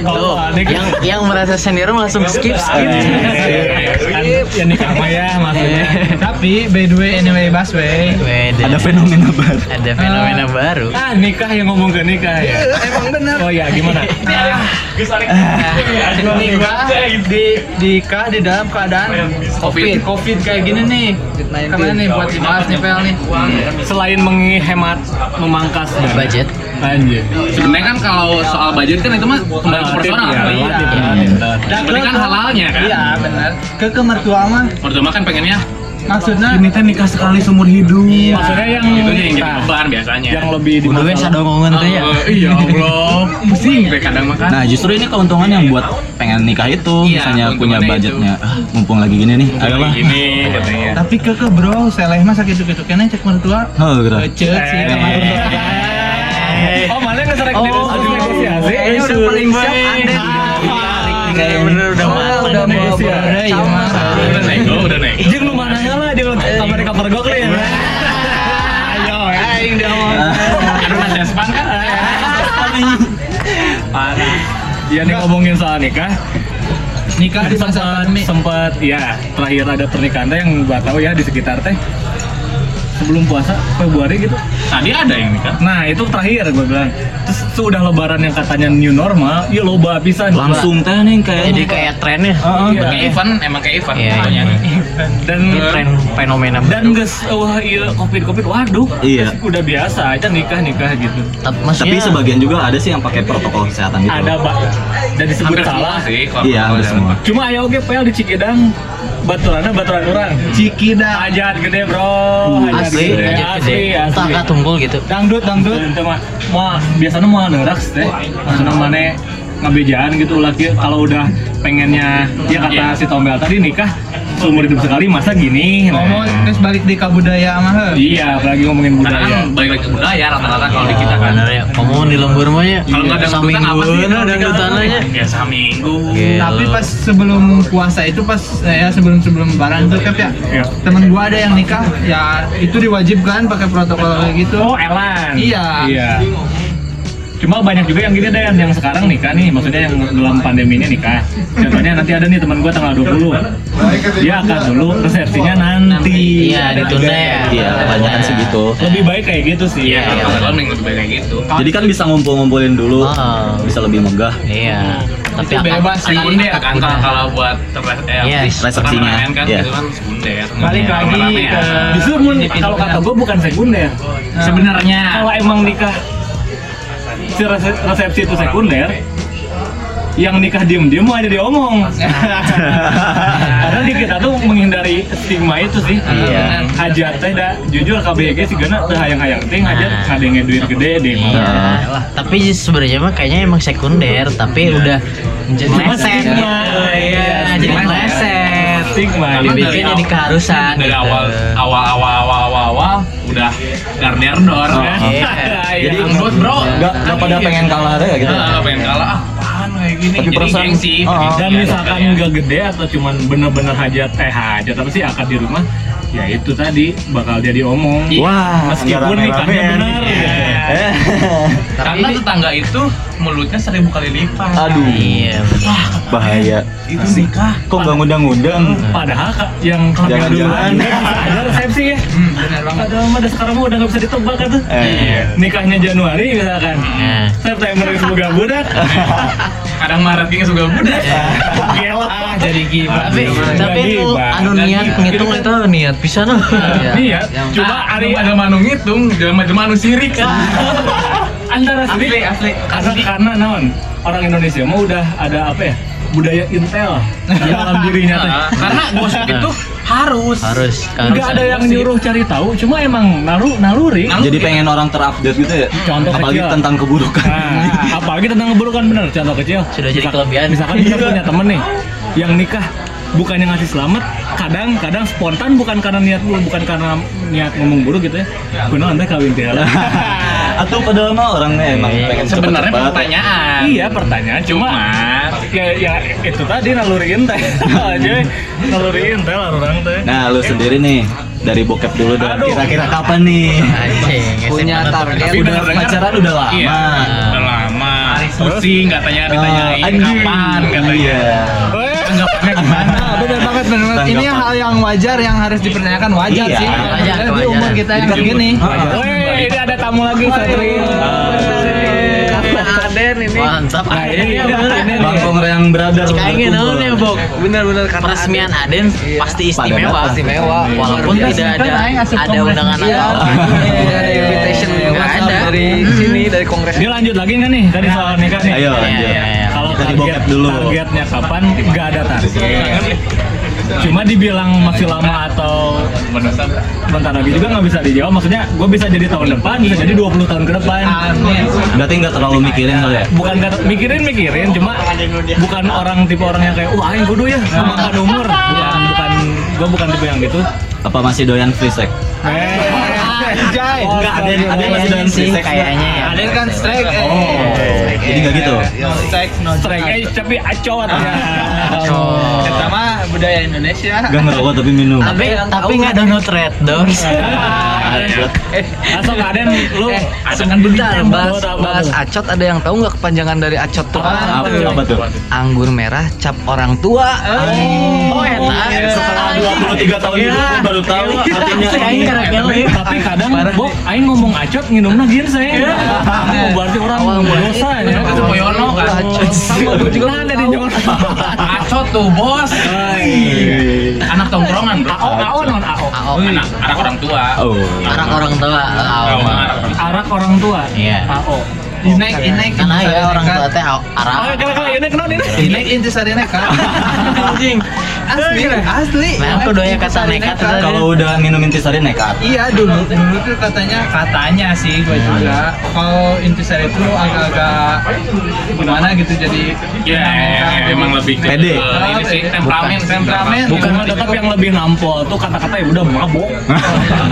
S1: kalau adik
S2: Yang yang merasa senior langsung skip skip.
S1: kan yang nikah mah ya maksudnya
S4: Iya. Tapi by the way anyway busway.
S2: Beda.
S3: Ada fenomena baru.
S2: Ada fenomena baru.
S1: ah nikah yang ngomong ke nikah ya
S4: Iya, Emang benar.
S1: oh ya gimana
S4: nikah di nikah di dalam keadaan covid covid kayak gini nih keren nih buat dibahas nih Pel nih
S6: Iya.
S1: selain menghemat memangkas dan
S2: Budget.
S1: anjir
S6: sebenarnya kan kalau soal budget kan itu mah kembali
S1: Nah, Ah,
S6: ke personal
S1: Relatif,
S6: Iya.
S1: relatif, relatif, relatif.
S6: Berarti kan halalnya kan?
S4: iya benar ke ke mertua mah
S6: Pertama kan pengennya
S4: maksudnya
S1: teh nikah sekali seumur hidup maksudnya yang
S6: itu yang gitu. jadi
S1: nah,
S6: beban biasanya.
S1: yang lebih
S2: Udah wes
S1: dimasalah.
S2: ada omongan tuh ya.
S6: Eh, iya Allah, pusing deh kadang makan.
S3: Nah justru ini keuntungan yang buat pengen nikah itu
S6: Iya,
S3: misalnya punya
S6: keuntungannya
S3: budgetnya Ah, mumpung lagi gini nih ayolah
S6: Ini katanya.
S4: tapi ke ke bro seleh mah sakit gitu kena cek mertua
S3: oh gerah
S4: kecil sih ke mertua
S1: Eh. Oh malah ngeserek oh, negosiasi
S5: Kayaknya udah paling siap Anda.
S2: Bener-bener udah
S5: Wah,
S2: matang.
S5: udah mau
S1: Indonesia.
S5: berenang,
S4: Iya,
S5: sama.
S6: Udah nego,
S1: oh,
S6: udah nego.
S1: Jeng lu mana lah dia kamar kamar gue kali ya Ayo aing dia mau
S6: Aduh, nasi espan kan?
S1: Parah Ya nih ngomongin soal nikah
S4: nikah di
S1: sempat
S4: masa pandemi
S1: sempat ya terakhir ada pernikahan teh yang gua tahu ya di sekitar teh sebelum puasa Februari gitu
S6: Tadi ada kan? yang nikah.
S1: nah itu terakhir gue bilang terus sudah lebaran yang katanya new normal ya loba Iya. bisa
S3: langsung teh
S2: Jadi
S3: nih kayaknya
S2: kayak ya? trennya.
S6: Kayak event, emang kayak event.
S2: Iya,
S6: pokoknya.
S1: dan
S2: Ini tren fenomena baru.
S1: dan guys wah iya covid covid waduh
S3: Iya.
S1: udah biasa aja nikah nikah gitu
S2: Tapi
S3: tapi
S2: maksudnya-
S3: sebagian juga ada sih yang pakai protokol kesehatan gitu
S1: ada pak dan disebut
S6: Hampir semua
S1: salah
S6: sih. kalau-
S3: iya
S6: kalau
S3: hampir
S6: dalam-
S3: semua
S1: cuma ayo oke pel di Cikidang baturannya baturan orang
S4: cikida
S1: hajat gede bro hajat
S2: asli,
S1: gede
S2: aja gede.
S1: asli
S2: Entah
S1: asli
S2: kah tunggul gitu.
S1: dangdut dangdut itu mah mah biasanya mah neraks teh maksudnya mana ngebejaan gitu lagi kalau udah pengennya ya kata
S6: Iya.
S1: si Tombel tadi nikah seumur hidup sekali masa gini nah.
S4: ngomong terus balik di kabudaya mah heuh.
S1: iya apalagi ngomongin
S6: Karena kan
S1: budaya
S6: balik lagi ke budaya rata-rata kalau di kita kan.
S2: Bener ya, kamu di lembur mah ya.
S6: Kalau nggak ada
S2: saminggu
S6: apa sih?
S2: bener
S6: Kalau
S2: dangdut
S6: tiga orang,
S2: tanahnya.
S6: Ya saminggu.
S2: Gila.
S4: Tapi pas sebelum puasa itu pas ya sebelum sebelum lebaran tuh Cap ya.
S1: Iya.
S4: Temen gua ada yang nikah ya itu diwajibkan pakai protokol kayak gitu.
S1: Oh, Elan.
S4: Iya.
S1: Iya. Cuma banyak juga yang gini deh, yang sekarang nikah nih, maksudnya yang dalam pandemi ini nikah. Contohnya nanti ada nih teman gue tanggal 20. Dia akan dulu resepsinya nanti.
S2: Iya, ditunda ya.
S3: iya kebanyakan sih gitu
S1: Lebih baik kayak gitu sih.
S6: Iya, kalau nggak lebih lebih baik kayak gitu.
S3: jadi kan bisa ngumpul-ngumpulin dulu
S2: Ah.
S3: bisa lebih megah
S2: Iya. Tapi
S4: Itu
S2: akan-
S4: bebas sih.
S2: akan-
S6: Sekunder
S2: akan-
S6: kan kalau- kalau buat terles eh,
S2: Iya,
S3: resepsinya.
S6: pertemanan kan
S3: Iya.
S6: itu kan sekunder.
S4: Balik lagi
S6: Ngomongnya rame-rame ya. Nah,
S4: ke-
S1: Justru mun kalau kata gue bukan sekunder.
S6: sebenarnya
S1: Kalau emang nikah si rese- resepsi itu sekunder, yang nikah diem-diem mau aja diomong. Karena di kita tuh menghindari stigma itu sih.
S3: Iya.
S1: Hajat teh da, jujur KBG sih gana teh hayang-hayang ting hajat
S2: Nah.
S1: ngadenge duit gede deh.
S2: Iya. Tapi sebenarnya mah kayaknya emang sekunder, tapi udah jadi meleset.
S1: stigma.
S2: gitu. Iya,
S1: Iya,
S2: jadi
S1: stigma.
S2: meleset.
S1: Stigma.
S6: Karena
S1: Jadi,
S2: Dibikin
S6: dari
S2: jadi
S6: aw-
S2: keharusan
S6: dari
S2: gitu.
S6: awal awal awal awal awal awal udah garnier dor kan
S2: Iya.
S1: Jadi
S6: jadi anggot bro Iya.
S3: nggak nggak pada pengen kalah deh gitu
S6: Nah, nggak pengen kalah ah apaan kayak gini
S3: Tapi
S6: jadi
S3: perasaan-
S6: gengsi
S2: Ah,
S3: Oh, oh.
S2: iya,
S1: dan misalkan nggak gede atau cuman bener-bener hajat eh hajat apa sih akad di rumah ya itu tadi bakal jadi omong
S2: Iya.
S3: wah
S1: Iya, meskipun
S3: nggak
S1: nikahnya
S3: rame-ramean.
S1: bener
S3: Eh.
S6: karena tetangga itu mulutnya seribu kali lipat
S3: aduh
S2: Iya.
S3: bahaya
S6: itu nikah
S3: kok nggak ngundang-ngundang
S1: padahal Kak, yang kagak
S3: Jangan-jangan.
S1: duluan juga bisa ada resepsi ya
S2: Hmm,
S4: Benar banget.
S1: padahal mah ada sekarang mah udah nggak bisa ditebak kan tuh
S3: eh
S1: nikahnya Januari misalkan
S2: Nah.
S1: September semoga budak
S6: ya, kadang Maret gini suka budak
S1: Gila.
S6: jadi gimana?
S2: tapi
S1: Iya,
S2: tapi lu anu niat ngitung itu anu Nah, niat pisan lah
S5: Iya.
S1: Iya, cuma hari
S6: ada manu ngitung, ada manu sirik. kan.
S1: antara sendiri
S6: asli,
S1: karena karena naon orang Indonesia mah udah ada apa ya budaya intel di dalam dirinya teh.
S6: Nah, karena gosip itu harus.
S2: harus harus
S1: Enggak ada yang nyuruh cari tahu, cuma emang naru naluri.
S3: Jadi pengen orang terupdate gitu ya.
S1: Contoh
S3: Apalagi
S1: kecil.
S3: tentang keburukan.
S1: Nah, apalagi tentang keburukan bener contoh kecil.
S2: Sudah jadi
S1: Misalkan-
S2: kelebihan.
S1: Misalkan kita punya temen nih yang nikah bukannya ngasih selamat, kadang-kadang spontan bukan karena niat bukan karena niat ngomong buruk gitu ya. Benar anda kawin tiara.
S3: Atau padahal mah orangnya emang
S2: Iya.
S3: pengen cepet-cepet.
S6: Sebenarnya
S3: ya.
S6: pertanyaan.
S1: iya pertanyaan cuma ya, ya itu tadi naluriin teh aja naluriin teh lah orang teh.
S3: Nah, lu sendiri nih dari bokep dulu dong.
S1: Aduh.
S3: Kira-kira kapan nih?
S2: Iya, anjing
S5: punya
S3: Iya,
S2: SMA tuh.
S5: target
S3: Udah pacaran udah lama.
S6: Iya, udah lama. Ah, Pusing, nggak tanya ditanyain kapan, nggak tanya.
S3: Ah, Iya.
S6: Anggapannya gimana?
S4: Nah, benar banget, benar banget. Ini
S3: Tanggapan.
S4: hal yang wajar yang harus dipertanyakan wajar
S3: Iya,
S4: sih.
S3: wajar,
S4: Karena Di
S2: wajar.
S4: umur kita yang
S6: Jadi
S4: begini.
S6: umur-
S3: Iya.
S1: Woi, Eh, ini ada tamu lagi Satri.
S5: Aden ini
S2: mantap Iya,
S1: Nah, ini ini ini
S3: Bang Kongre yang brother.
S2: Cikaingin
S3: berkumpul.
S2: naon ya Bok
S5: benar-benar kata
S2: peresmian Aden pasti
S3: Pada
S2: istimewa
S3: datang.
S5: istimewa
S4: Iya.
S5: Kan
S2: walaupun
S5: Luar biasa.
S2: tidak ada ada undangan
S5: Iya,
S2: apa
S5: nggak ada invitation
S4: Iya,
S2: Nggak
S5: WhatsApp
S2: ada. Hmm.
S5: dari sini dari kongres.
S1: Ini lanjut lagi nggak nih tadi soal nikah nih?
S3: Nah. Ayo lanjut.
S2: Iya, iya,
S1: Kalau
S3: Dari
S1: target
S3: bokep dulu.
S1: Targetnya kapan? Nggak ada
S6: Iya.
S1: target. Cuma dibilang masih lama atau bentar lagi juga nggak bisa dijawab. Maksudnya gue bisa jadi tahun depan, bisa jadi 20 tahun ke depan.
S3: Berarti nggak terlalu mikirin kali ya?
S1: Bukan kata mikirin mikirin, cuma bukan orang tipe orang yang kayak wah aing kudu ya makan umur. Bukan bukan gue bukan tipe yang gitu. Eh.
S3: Apa masih doyan free sex?
S4: Anjay.
S2: Oh,
S3: Enggak, ada ada
S2: Iya,
S3: yang masih doyan free sex.
S2: kayaknya ya
S4: Ada kan strike. eh.
S3: Jadi nggak gitu.
S2: Iya,
S4: Strike no
S1: Strike,
S4: Gitu.
S1: eh, tapi acot ya.
S2: Oh.
S4: Pertama budaya Indonesia.
S3: Gak ngerokok tapi minum.
S2: tapi
S5: kan
S2: tapi nggak download red doors
S1: Asal Aden, lu
S5: Eh,
S2: Kan
S1: asalkan
S5: Bentar, bahas, bahas acot ada yang tahu nggak kepanjangan dari acot tuh?
S3: Apa, apa tuh?
S5: Anggur merah cap orang tua.
S4: Eh,
S2: oh
S3: iya,
S2: eta
S3: Setelah 23 tahun hidup gua baru tahu artinya
S2: Aing
S3: ini.
S2: karena
S1: Tapi,
S2: gele.
S1: eh, tapi kadang Bob, Aing ngomong acot nginumna gini
S3: Iya.
S1: saya. Oh, berarti orang dosa
S4: iya,
S1: ya.
S6: Itu Boyono kan.
S5: Sama
S1: Gue juga ada di nyolong.
S6: Acot tuh bos. Anak tongkrongan bro. iya.
S1: AO, AO non AO.
S2: oh
S6: oh, Anak, anak orang tua.
S3: Oh.
S2: anak orang tua
S6: Tahu,
S2: oh.
S6: anak orang
S1: Arak orang tua.
S2: Iya.
S1: AO.
S4: Inek inek
S5: gitu,
S2: karena ya
S5: kan.
S2: orang tua teh arah
S1: Oh, kalau kalau ini kenal ini.
S4: Inek intisari nekat.
S2: anjing
S4: Asli, asli.
S2: Nah, aku doyan kata
S4: Intisari
S2: nekat.
S3: Kalau udah minum intisari nekat.
S4: Iya dulu dulu tuh katanya katanya sih gue juga kalau intisari itu agak-agak gimana gitu jadi kan
S6: Iya, emang lebih ke-
S3: Pede.
S6: ke Ini sih temperamen,
S4: Temperamen.
S6: temperamen.
S1: Bukan tetap yang lebih nampol tuh kata-kata ya udah mabok.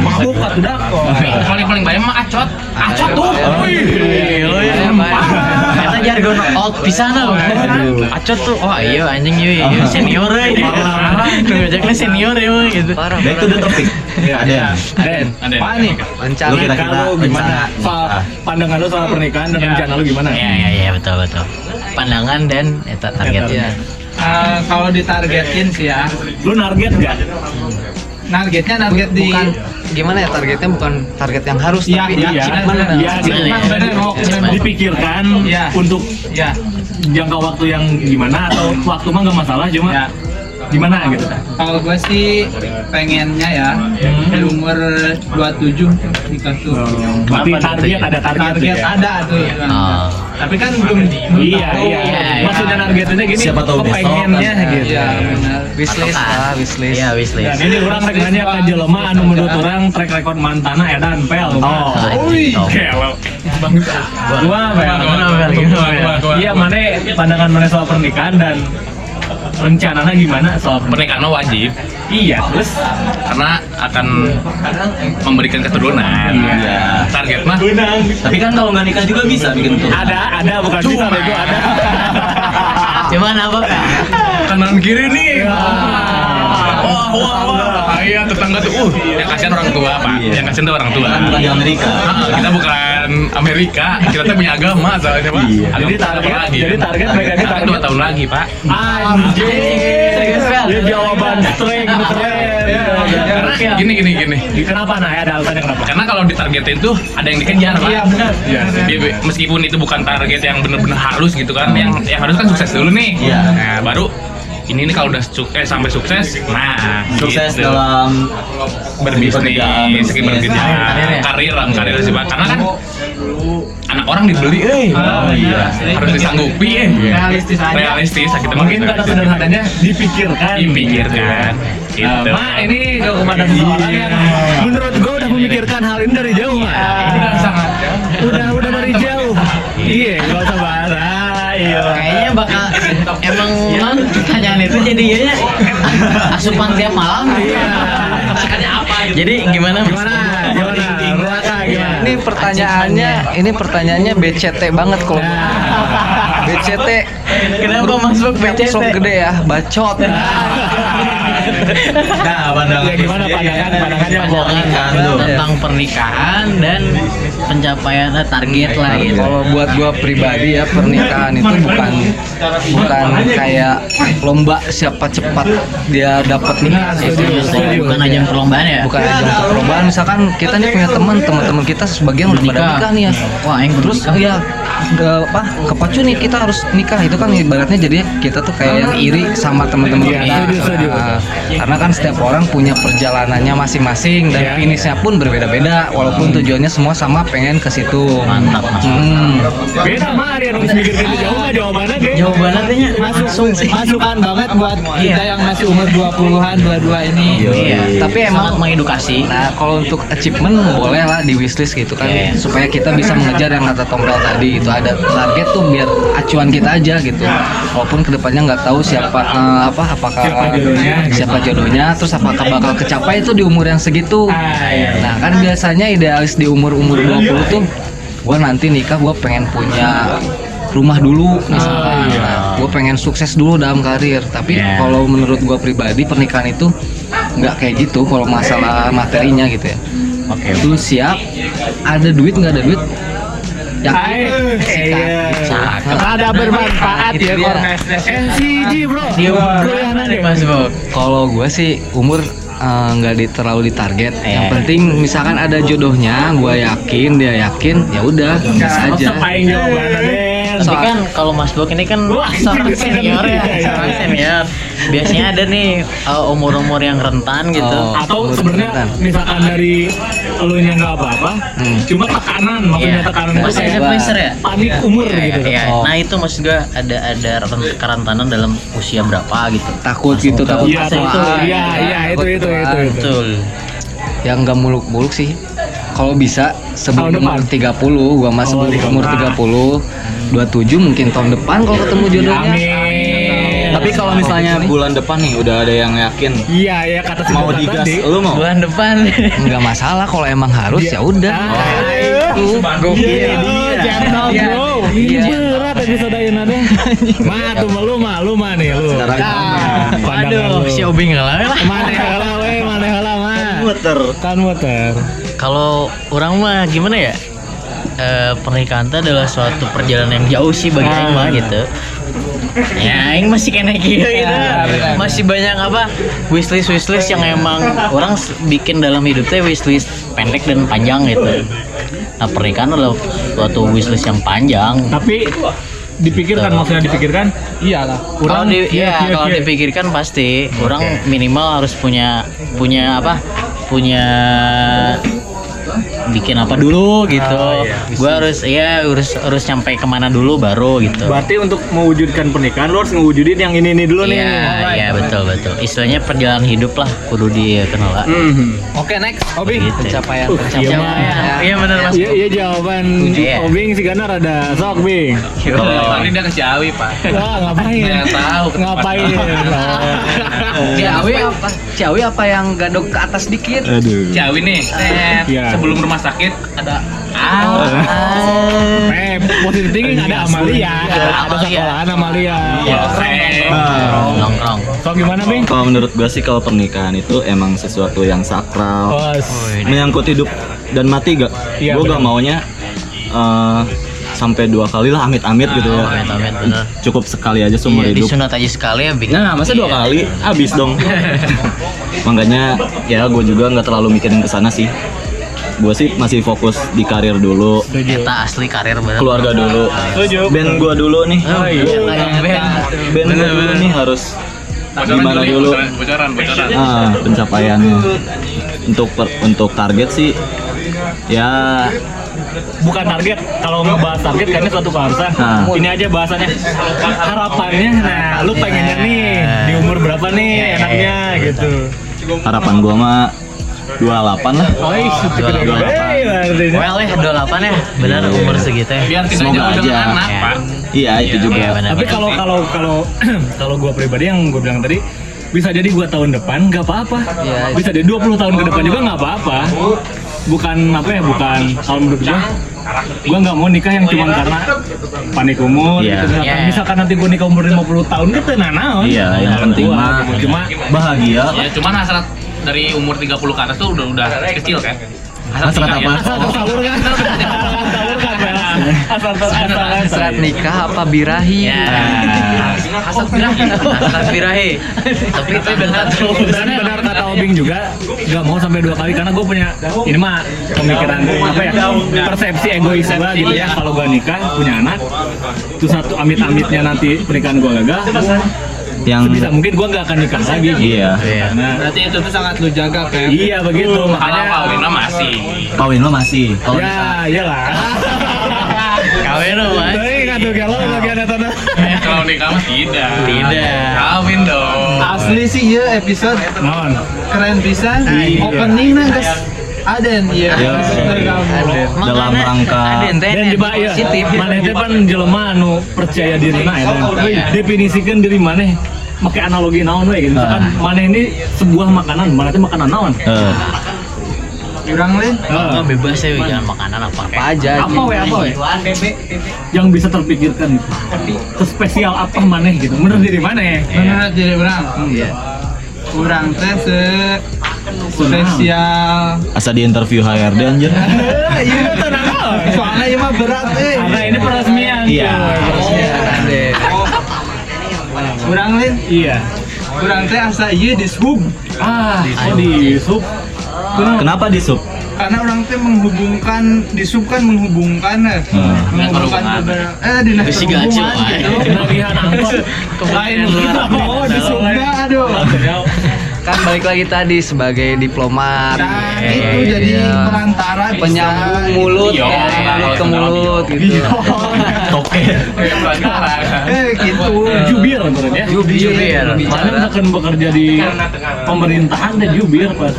S1: Mabok kata Iya, udah kok.
S6: Paling paling banyak mah acot. Acot tuh.
S1: Wih, lu ya.
S2: Eta jargon old pisan loh. Acot tuh, oh iya anjing iya iya senior euy. Ngajaknya senior ya mah, gitu.
S5: Parah.
S3: Baik Nah, itu udah topik. Ada ya?
S1: Dan
S6: Ada.
S4: apa nih?
S3: Lu
S5: Rencana
S3: kira-kira
S1: kalau
S3: rencana
S1: gimana? Soal pandangan lu soal pernikahan dan rencana lu gimana?
S2: Iya iya iya betul betul. Pandangan dan eta
S1: Iya.
S2: targetnya.
S4: Eh, kalau ditargetin sih ya
S1: Lu target enggak?
S4: targetnya target di
S5: bukan gimana ya targetnya bukan target yang harus
S4: Iya,
S5: tapi
S4: iya.
S5: achievement.
S4: Bener,
S1: Iya,
S2: bener,
S1: bener,
S4: bener, Wok,
S1: bener.
S2: bener.
S1: dipikirkan
S4: Iya.
S1: untuk
S4: ya
S1: jangka waktu yang gimana atau waktu mah nggak masalah cuma
S4: Iya.
S1: gimana gitu
S4: kalau gue sih pengennya ya di umur 27 nikah tuh
S1: berarti
S2: Apa
S1: target
S2: tentunya?
S1: ada Oh. target,
S4: target
S1: ya?
S4: ada tuh Nah,
S2: Oh.
S4: tapi kan belum belum
S1: iya
S4: tahu. gitu.
S1: iya
S2: Iya, iya.
S1: maksudnya targetnya gini
S3: Siapa tahu besok,
S1: kepengennya
S3: kan?
S1: gitu
S4: iya benar
S5: wishlist
S2: Atau kan?
S5: lah wishlist
S2: Iya
S1: dan
S2: wishlist.
S1: ini orang rek nanya ke jelema anu menurut orang track record mantana ya dan pel iya.
S3: Oh.
S2: Anjing, tau.
S1: gua pel iya mana pandangan mana soal pernikahan dan rencananya gimana soal pernikahan
S6: Pernikahan mah wajib
S1: iya terus
S6: karena akan memberikan keturunan.
S3: Iya.
S6: Target mah
S3: Tapi kan kalau nggak nikah juga bisa bikin tuh.
S1: ada ada bukan cuma itu ada
S2: Cuman apa kak?
S6: kanan kiri nih.
S1: Wah,
S6: Wah, wah, wah. Iya, tetangga tuh. Uh, yang kasihan orang tua, Pak.
S3: Iya.
S6: Yang kasihan tuh orang tua.
S3: Kan bukan di Amerika.
S6: Ah, kita bukan Amerika, kita tuh punya agama soalnya, Pak.
S3: Iya.
S6: Agama
S1: Jadi
S6: kita
S1: target-
S6: apa lagi? kan.
S1: jadi target megangnya target.
S6: dua tahun lagi, Pak.
S1: Anjing, Iya,
S2: Ini
S1: jawaban
S2: jawaban
S1: string iya,
S6: Karena
S1: keren.
S6: gini gini gini.
S1: Kenapa nah ya ada alasannya kenapa?
S6: Karena kalau ditargetin tuh ada yang dikejar, Pak. Iya, benar. meskipun itu bukan target yang benar-benar halus gitu kan, yang yang harus kan sukses dulu nih.
S3: Iya.
S6: Nah, baru ini nih kalau udah suk- eh, sampai sukses nah
S3: sukses
S6: gitu.
S3: dalam pekerjaan,
S6: berbisnis,
S3: berbisnis.
S6: segi berbisnis,
S2: Karir ya?
S6: karir lah, karir sih Pak. Karena kan anak orang dibeli, eh,
S7: Oh, iya.
S6: harus disanggupi, eh,
S7: Realistis aja.
S6: realistis, sakit
S1: Mungkin kata sederhananya dipikirkan.
S6: dipikirkan,
S1: Nah,
S6: gitu.
S1: Mak, ini dokumentasi seorang yang ya. menurut gua udah memikirkan hal ini dari jauh, Mak.
S6: Udah sangat.
S1: Udah udah dari jauh. Iya, gak usah bahas. Ah, Iya.
S2: Kayaknya bakal emang non pertanyaan itu jadi jadinya asupan tiap malam.
S1: Iya.
S2: Masakannya apa? gitu? Jadi gimana? Mas?
S1: Gimana? Gimana? Ruaka gimana?
S4: Ini pertanyaannya, ini pertanyaannya BCT banget kalau
S1: Nah.
S4: BCT
S2: Kenapa masuk BCT?
S4: sok gede ya, bacot. Iya,
S3: Nah, pandangan kan
S1: Ya, gimana pandangan- pandangannya
S3: Pandangan
S2: Pernikahan
S4: Iya.
S3: lu.
S2: kan, tentang pernikahan dan pencapaian target lah gitu.
S4: Kalau buat gua pribadi ya pernikahan itu bukan bukan kayak lomba siapa cepat dia dapat nih.
S2: Itu
S4: Itu
S2: bukan ajang perlombaan ya?
S4: bukan ajang perlombaan misalkan kita nih punya teman teman-teman kita sebagian udah pada
S2: Nikah. Hmm.
S4: nikah nih ya
S2: Wah, yang kan
S4: terus ya ke- apa kepacu nih kita harus nikah itu kan ibaratnya jadinya kita tuh kayak yang iri sama teman-teman
S1: Iya,
S4: kita
S1: setuju, setuju.
S4: Nah, karena kan setiap orang punya perjalanannya masing-masing dan finishnya pun berbeda-beda walaupun tujuannya semua sama pengen ke situ
S2: Mantap, Mas.
S4: Hmm.
S1: Beda, Mak. Dia harus mikirkan dari jauh, Mak. Jawabannya, Ge.
S2: Jawabannya tanya
S7: Masuk, masukan banget buat kita
S2: Iya.
S7: yang masih umur 20-an, 22 ini.
S2: Iya,
S4: Tapi
S2: tapi
S4: emang-
S2: emang mengedukasi.
S4: Nah, kalau untuk achievement boleh lah di wishlist gitu kan,
S2: Iya.
S4: supaya kita bisa mengejar yang kata Tompel tadi itu ada target tuh biar acuan kita aja gitu. Walaupun kedepannya nggak tahu siapa eh, apa apakah eh, siapa jodohnya, gitu. terus apakah bakal kecapai itu di umur yang segitu. Nah, kan biasanya idealis di umur umur 20 tuh, gua nanti nikah gua pengen punya rumah dulu misalkan, nah, gue pengen sukses dulu dalam karir. Tapi
S2: Iya.
S4: kalau kalau menurut gua pribadi pernikahan itu nggak kayak gitu kalau masalah materinya gitu ya
S2: Oke.
S4: lu siap ada duit nggak ada duit Ya, eh,
S1: Hai. Iya.
S4: yakin
S2: Cakep.
S1: Ada bermanfaat
S4: Itu
S1: ya,
S4: Gitu dia.
S1: Kornes. NCG, bro.
S2: Dia
S1: Kuliahan
S2: berapa
S1: aja.
S2: nih Iya, Mas Bob?
S4: kalau gua sih umur eh, nggak di, terlalu ditarget yang
S2: Iya.
S4: penting misalkan ada jodohnya gua yakin dia yakin ya udah bisa aja
S1: Sepain jawabannya, Den.
S2: Tapi kan kalau Mas Bok ini kan
S1: Wah,
S2: seorang
S1: iya,
S2: senior
S1: iya,
S2: ya,
S1: iya.
S2: seorang senior. Biasanya ada nih uh, umur-umur yang rentan gitu.
S1: atau
S4: Oh.
S3: Iya.
S4: Menurut
S1: sebenarnya
S4: Intan.
S1: misalkan dari lu nya nggak apa-apa
S4: Hmm.
S1: cuma tekanan
S2: Iya.
S1: maksudnya tekanan itu
S2: Mas
S1: kayak
S2: ada pressure ya?
S1: panik umur
S2: Iya,
S1: gitu
S2: iya.
S4: Oh.
S2: Nah itu maksud gue ada ada renten- kerentanan dalam usia berapa gitu.
S4: takut gitu takut
S1: iya
S4: ketuaan,
S1: itu iya iya itu
S4: takut
S1: itu itu
S4: ketuaan.
S1: itu
S2: Betul.
S4: yang nggak muluk-muluk sih kalau bisa sebelum
S1: Tahun
S4: umur
S1: depan? Oh,
S4: 30 gua mah sebelum
S1: depan.
S4: umur 30 27 mungkin tahun depan kalau ketemu jodohnya
S1: amin
S3: Tapi kalau misalnya bulan depan nih udah ada yang yakin
S1: iya iya kata si
S3: mau
S1: Bapak
S3: digas,
S1: tadi.
S3: lu mau?
S2: Bulan depan.
S4: nggak masalah kalau emang harus ya udah
S1: Oh, iya, iya, jangan
S4: Iya.
S1: bro. Ini berat ya episode ini deh. Ma, tuh ma, lu ma, lu ma nih lu.
S3: Sekarang
S1: Nah,
S3: gimana?
S1: pandangan
S2: Aduh,
S1: lu.
S2: si Obi ngalamin lah.
S1: Mana hela we, mana hela ma.
S3: Muter.
S1: Kan muter.
S2: Kalau orang mah gimana ya? Eh, pernikahan itu adalah suatu perjalanan yang jauh sih bagi Aing mah gitu. Ya, Aing masih kena gitu. Masih banyak apa wishlist wishlist yang emang orang s- bikin dalam hidupnya wishlist pendek dan panjang gitu. Nah pernikahan adalah suatu wishlist yang panjang.
S1: Tapi dipikirkan maksudnya dipikirkan iyalah
S2: Kalau di,
S1: iya,
S2: ya,
S1: iya,
S2: kalau
S1: iya.
S2: dipikirkan pasti orang minimal harus punya punya apa? Punya bikin apa dulu gitu.
S3: Ah, iya,
S2: Gua harus ya harus harus nyampe kemana dulu baru gitu.
S1: Berarti untuk mewujudkan pernikahan lu harus ngewujudin yang ini ini dulu
S2: Iya,
S1: nih.
S2: iya betul betul. Istilahnya perjalanan hidup lah kudu dikenal lah.
S3: Hmm.
S4: oke next
S1: Obi.
S2: Gitu.
S4: pencapaian
S1: Uh,
S4: pencapaian Ya.
S1: Mah.
S2: Iya, Iya benar Mas.
S1: Iya, iya jawaban Oh,
S2: Iya.
S1: Obing sih karena rada sok Bing.
S6: Kalau ini udah ke Ciawi, Pak.
S1: Wah, ngapain?
S6: Nggak tahu.
S1: Ngapain?
S4: Ciawi apa Ciawi apa yang gadok ke atas dikit
S3: Aduh.
S6: Ciawi nih, set.
S1: Iya.
S6: sebelum rumah sakit ada
S2: Ah.
S1: Eh, positif thinking ada Amalia,
S2: Ada
S1: ada
S2: Amalia. Iya.
S1: sekolahan Amalia.
S3: Iya.
S6: Korek.
S3: Nah,
S2: Nongkrong.
S1: Sok gimana Bing?
S3: kalau menurut gua sih kalau pernikahan itu emang sesuatu yang sakral.
S1: Bos.
S3: menyangkut hidup dan mati gak?
S1: Oh, Iya,
S3: gue
S1: benar.
S3: gak maunya eh, sampai dua kali lah amit-amit
S1: Ah,
S3: gitu ya.
S2: Amit-amit benar.
S3: Cukup sekali aja seumur
S2: Iya,
S3: hidup.
S2: disunat aja sekali ya bikin.
S3: Nah, masa
S1: Iya.
S3: dua kali habis dong. Makanya ya gue juga nggak terlalu mikirin ke sana sih. Gue sih masih fokus di karir dulu,
S2: Eta asli karir Ah, iya. benar.
S3: keluarga dulu, band gue dulu nih.
S2: Oh, iya. Eta yang band.
S3: Band gue dulu nih harus Gimana
S6: Juli.
S3: dulu?
S6: Bocoran, bocoran, bocoran.
S3: Ah, pencapaiannya untuk per- untuk target sih ya
S1: bukan target kalau ngebahas target karena suatu keharusan
S3: Nah.
S1: ini aja bahasannya harapannya nah lu pengennya nih di umur berapa nih enaknya gitu
S3: harapan gua mah 28 lah.
S1: Hei,
S3: Iya.
S1: artinya.
S2: Well ya 28 ya, benar umur segitu ya.
S6: Biar tidak
S3: Semoga
S6: jauh
S3: aja.
S6: dengan anak,
S2: Ya.
S6: Pak.
S3: Iya, itu
S2: Iya,
S3: juga.
S2: benar.
S1: tapi kalau kalau kalau kalau gua pribadi yang gua bilang tadi bisa jadi gua tahun depan nggak apa-apa
S3: Iya,
S1: bisa jadi 20 tahun ke depan juga nggak apa-apa bukan apa ya bukan kalau menurut gua gua nggak mau nikah yang cuma karena panik umur
S3: Iya.
S1: gitu. Misalkan,
S2: Iya.
S1: misalkan nanti gua nikah umur 50 tahun gitu nah naon
S3: Iya, yang penting
S1: Gua-
S3: mah
S1: cuma
S3: bahagia.
S6: Ya, cuman hasrat dari umur 30 ke atas tuh udah udah kecil kan.
S3: Hasrat apa?
S6: nikah, ya.
S1: asal tersalurkan asal tersalurkan Bel. asal tersalurkan
S5: Serat nikah apa birahi?
S2: Ya.
S3: Iya. Eh,
S6: Hasrat birahi.
S2: Hasrat birahi. Tapi itu benar tuh.
S1: Dan benar kata Obing juga nggak mau sampai dua kali karena gue punya ini mah pemikiran apa ya persepsi egois gue gitu ya kalau gue nikah punya anak itu satu amit-amitnya nanti pernikahan gue gagal
S3: Yang
S1: sebisa mungkin gue nggak akan nikah lagi gitu.
S3: iya.
S1: Nah,
S4: berarti itu tuh sangat lu jaga kayak
S1: iya begitu
S6: Kalau
S1: makanya
S6: kawin mah masih.
S3: Kawin lo masih. Kalau
S1: ya iyalah
S2: Kawin lo, Mas.
S1: Tapi nggak tuh kalau bagian atas
S6: Kalau nikah mah tidak.
S2: Tidak.
S6: Kawin dong.
S4: asli sih ya episode
S1: non
S4: keren bisa
S1: Iya.
S4: opening nah guys Aden ya
S3: Iya. dalam
S2: Makanya,
S3: rangka
S2: eh. ada ente
S1: dan
S2: yang
S1: jebak ya
S2: positif.
S1: mana itu kan jelema anu percaya diri nah ya dan definisikan diri mana pakai analogi naon we gitu misalkan
S3: Ah.
S1: mana ini sebuah makanan mana itu makanan naon
S3: eh,
S4: kurang leh
S1: Ah.
S2: Oh, bebas ya, jangan makanan apa-apa.
S5: Apa aja?
S1: apa we apa we Ah. yang bisa terpikirkan gitu sespesial apa mana gitu menurut diri mana
S4: menurut diri orang kurang teh se spesial
S3: asa di interview HRD anjir.
S1: iya tenang
S4: soalnya ini mah berat eh
S1: karena ini peresmian
S3: Iya.
S1: cuy, peresmian.
S5: Ada.
S4: kurang leh
S1: iya
S4: kurang teh asa iya di sub
S1: ah kok di sub
S3: Kenapa di sub?
S4: karena orang teh menghubungkan di sub kan menghubungkan eh
S3: Hmm.
S4: menghubungkan
S6: Dinas perhubungan.
S4: beberapa- eh dinas
S2: Besi
S4: perhubungan
S2: gacil, Pak.
S4: gitu
S1: kelebihan angkot
S4: lain
S2: Kemudian
S4: gitu
S2: luar
S4: oh di
S2: biasa.
S4: subnya aduh
S5: kan balik lagi tadi sebagai diplomat
S4: nah
S5: Iya,
S4: itu
S5: iya,
S4: jadi gitu.
S5: iya.
S4: perantara bisa.
S5: penyambung mulut
S6: Iya,
S5: ya,
S6: iya,
S5: mulut ke
S6: iya.
S5: mulut gitu
S3: Toke.
S4: eh gitu
S1: jubir menurutnya
S5: jubir
S1: Mana misalkan bekerja di pemerintahan dan jubir pas.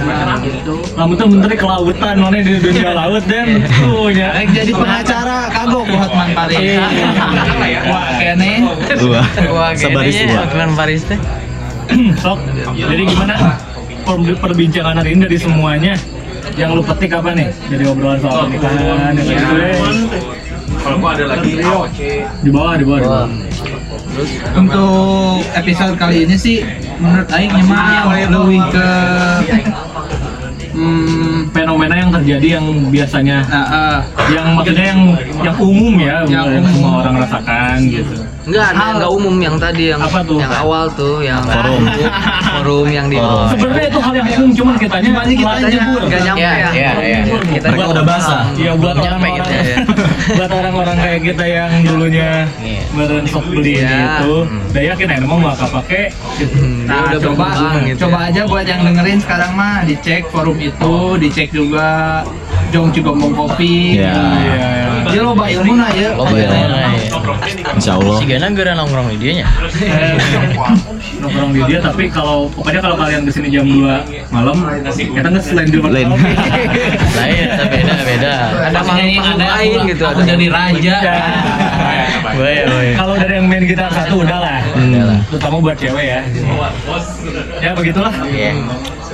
S1: Kamu tuh menteri kelautan, mana di dunia laut dan tuh ya. Iya.
S4: jadi pengacara kagok buat mantari
S2: ya? Iya.
S4: wah kene
S3: Dua.
S5: Wah,
S3: Sebaris
S5: kayaknya
S3: dua.
S5: Aklan Paris teh.
S1: Sok. Jadi gimana per- perbincangan hari ini dari semuanya? Yang lu petik apa nih? Dari obrolan soal pernikahan yang gitu Di bawah, di bawah, di bawah.
S4: untuk episode kali ini sih menurut Aing mah lebih ke hmm,
S1: Fenomena yang terjadi yang biasanya
S4: nah, eh,
S1: yang maksudnya yang yang umum ya, yang,
S4: Yang
S1: semua
S4: umum.
S1: orang rasakan gitu.
S5: Enggak, ada yang enggak umum yang tadi yang
S1: Apa tuh?
S5: yang awal tuh yang
S3: Forum.
S5: forum yang di
S3: Forum.
S1: Sebenarnya itu hal yang umum, cuman kitanya banyak
S4: kita nyebut.
S5: Enggak nyampe
S2: Iya,
S5: ya.
S2: iya, iya.
S5: Kita
S3: Mereka udah basah.
S1: Iya buat
S2: Nyampe
S1: orang-orang
S2: gitu ya.
S1: buat orang-orang kayak kita yang dulunya
S2: Iya.
S1: meren sok beli
S5: Iya.
S1: itu, udah yakin ya emang bakal pakai.
S5: Nah, udah
S4: coba
S5: berkembang
S3: ya.
S5: gitu.
S4: coba aja buat yang dengerin sekarang mah dicek forum itu dicek juga jong cigombong kopi
S3: Iya.
S4: ya loba ilmu nah ya
S2: Oh,
S3: Iya.
S2: bayar
S3: Insya Allah.
S2: Si Gana gara nongkrong di dianya.
S1: Nongkrong di dia tapi kalau pokoknya kalau kalian kesini jam 2 malam, kita nggak selain di
S3: Lain.
S2: Lain, tapi beda, beda.
S5: ada makhluk lain gitu ada
S6: jadi raja.
S2: Boy, boy.
S1: Iya. Kalau dari yang main gitar satu udah lah,
S3: Hmm.
S1: terutama buat cewek ya. Ya begitulah.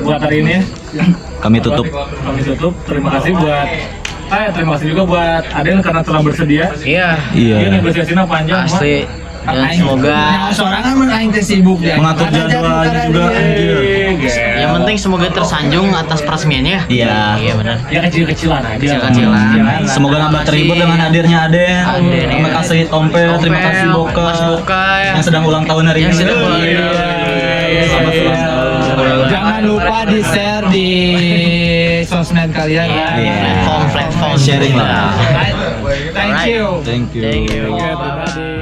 S1: Buat hari ini ya.
S3: Kami tutup.
S1: Kami tutup. Terima kasih buat Eh, terima kasih juga buat Adel karena telah bersedia.
S2: Iya,
S1: Dia
S3: Iya.
S1: negosiasinya panjang. Mak.
S2: asli. Dan semoga
S4: Nah, sorangan mah aing teh sibuk ya. dia.
S3: Ya, Mengatur
S4: Ada
S3: jadwal
S4: jadwal Iya.
S3: juga.
S4: dia.
S1: Eh, gel.
S2: yang penting semoga tersanjung atas peresmiannya.
S3: Iya.
S2: Iya benar.
S1: Ya kecil-kecilan aja.
S2: Kecil-kecilan. Iya.
S3: Semoga nambah terhibur dengan hadirnya Aden.
S2: Aden,
S3: Terima
S2: iya.
S3: kasih Tompe, terima kasih Boka.
S2: Mas Boka ya.
S3: Yang sedang ulang tahun hari ini.
S2: Yang sedang ulang iya, tahun.
S3: Iya. Selamat
S1: Iya.
S3: ulang tahun.
S4: Jangan lupa di share di sosmed kalian.
S2: Iya.
S3: Iya.
S2: Platform, platform.
S3: Sharing lah.
S4: Thank you.
S3: Thank you.
S2: Thank you.
S1: Terima kasih.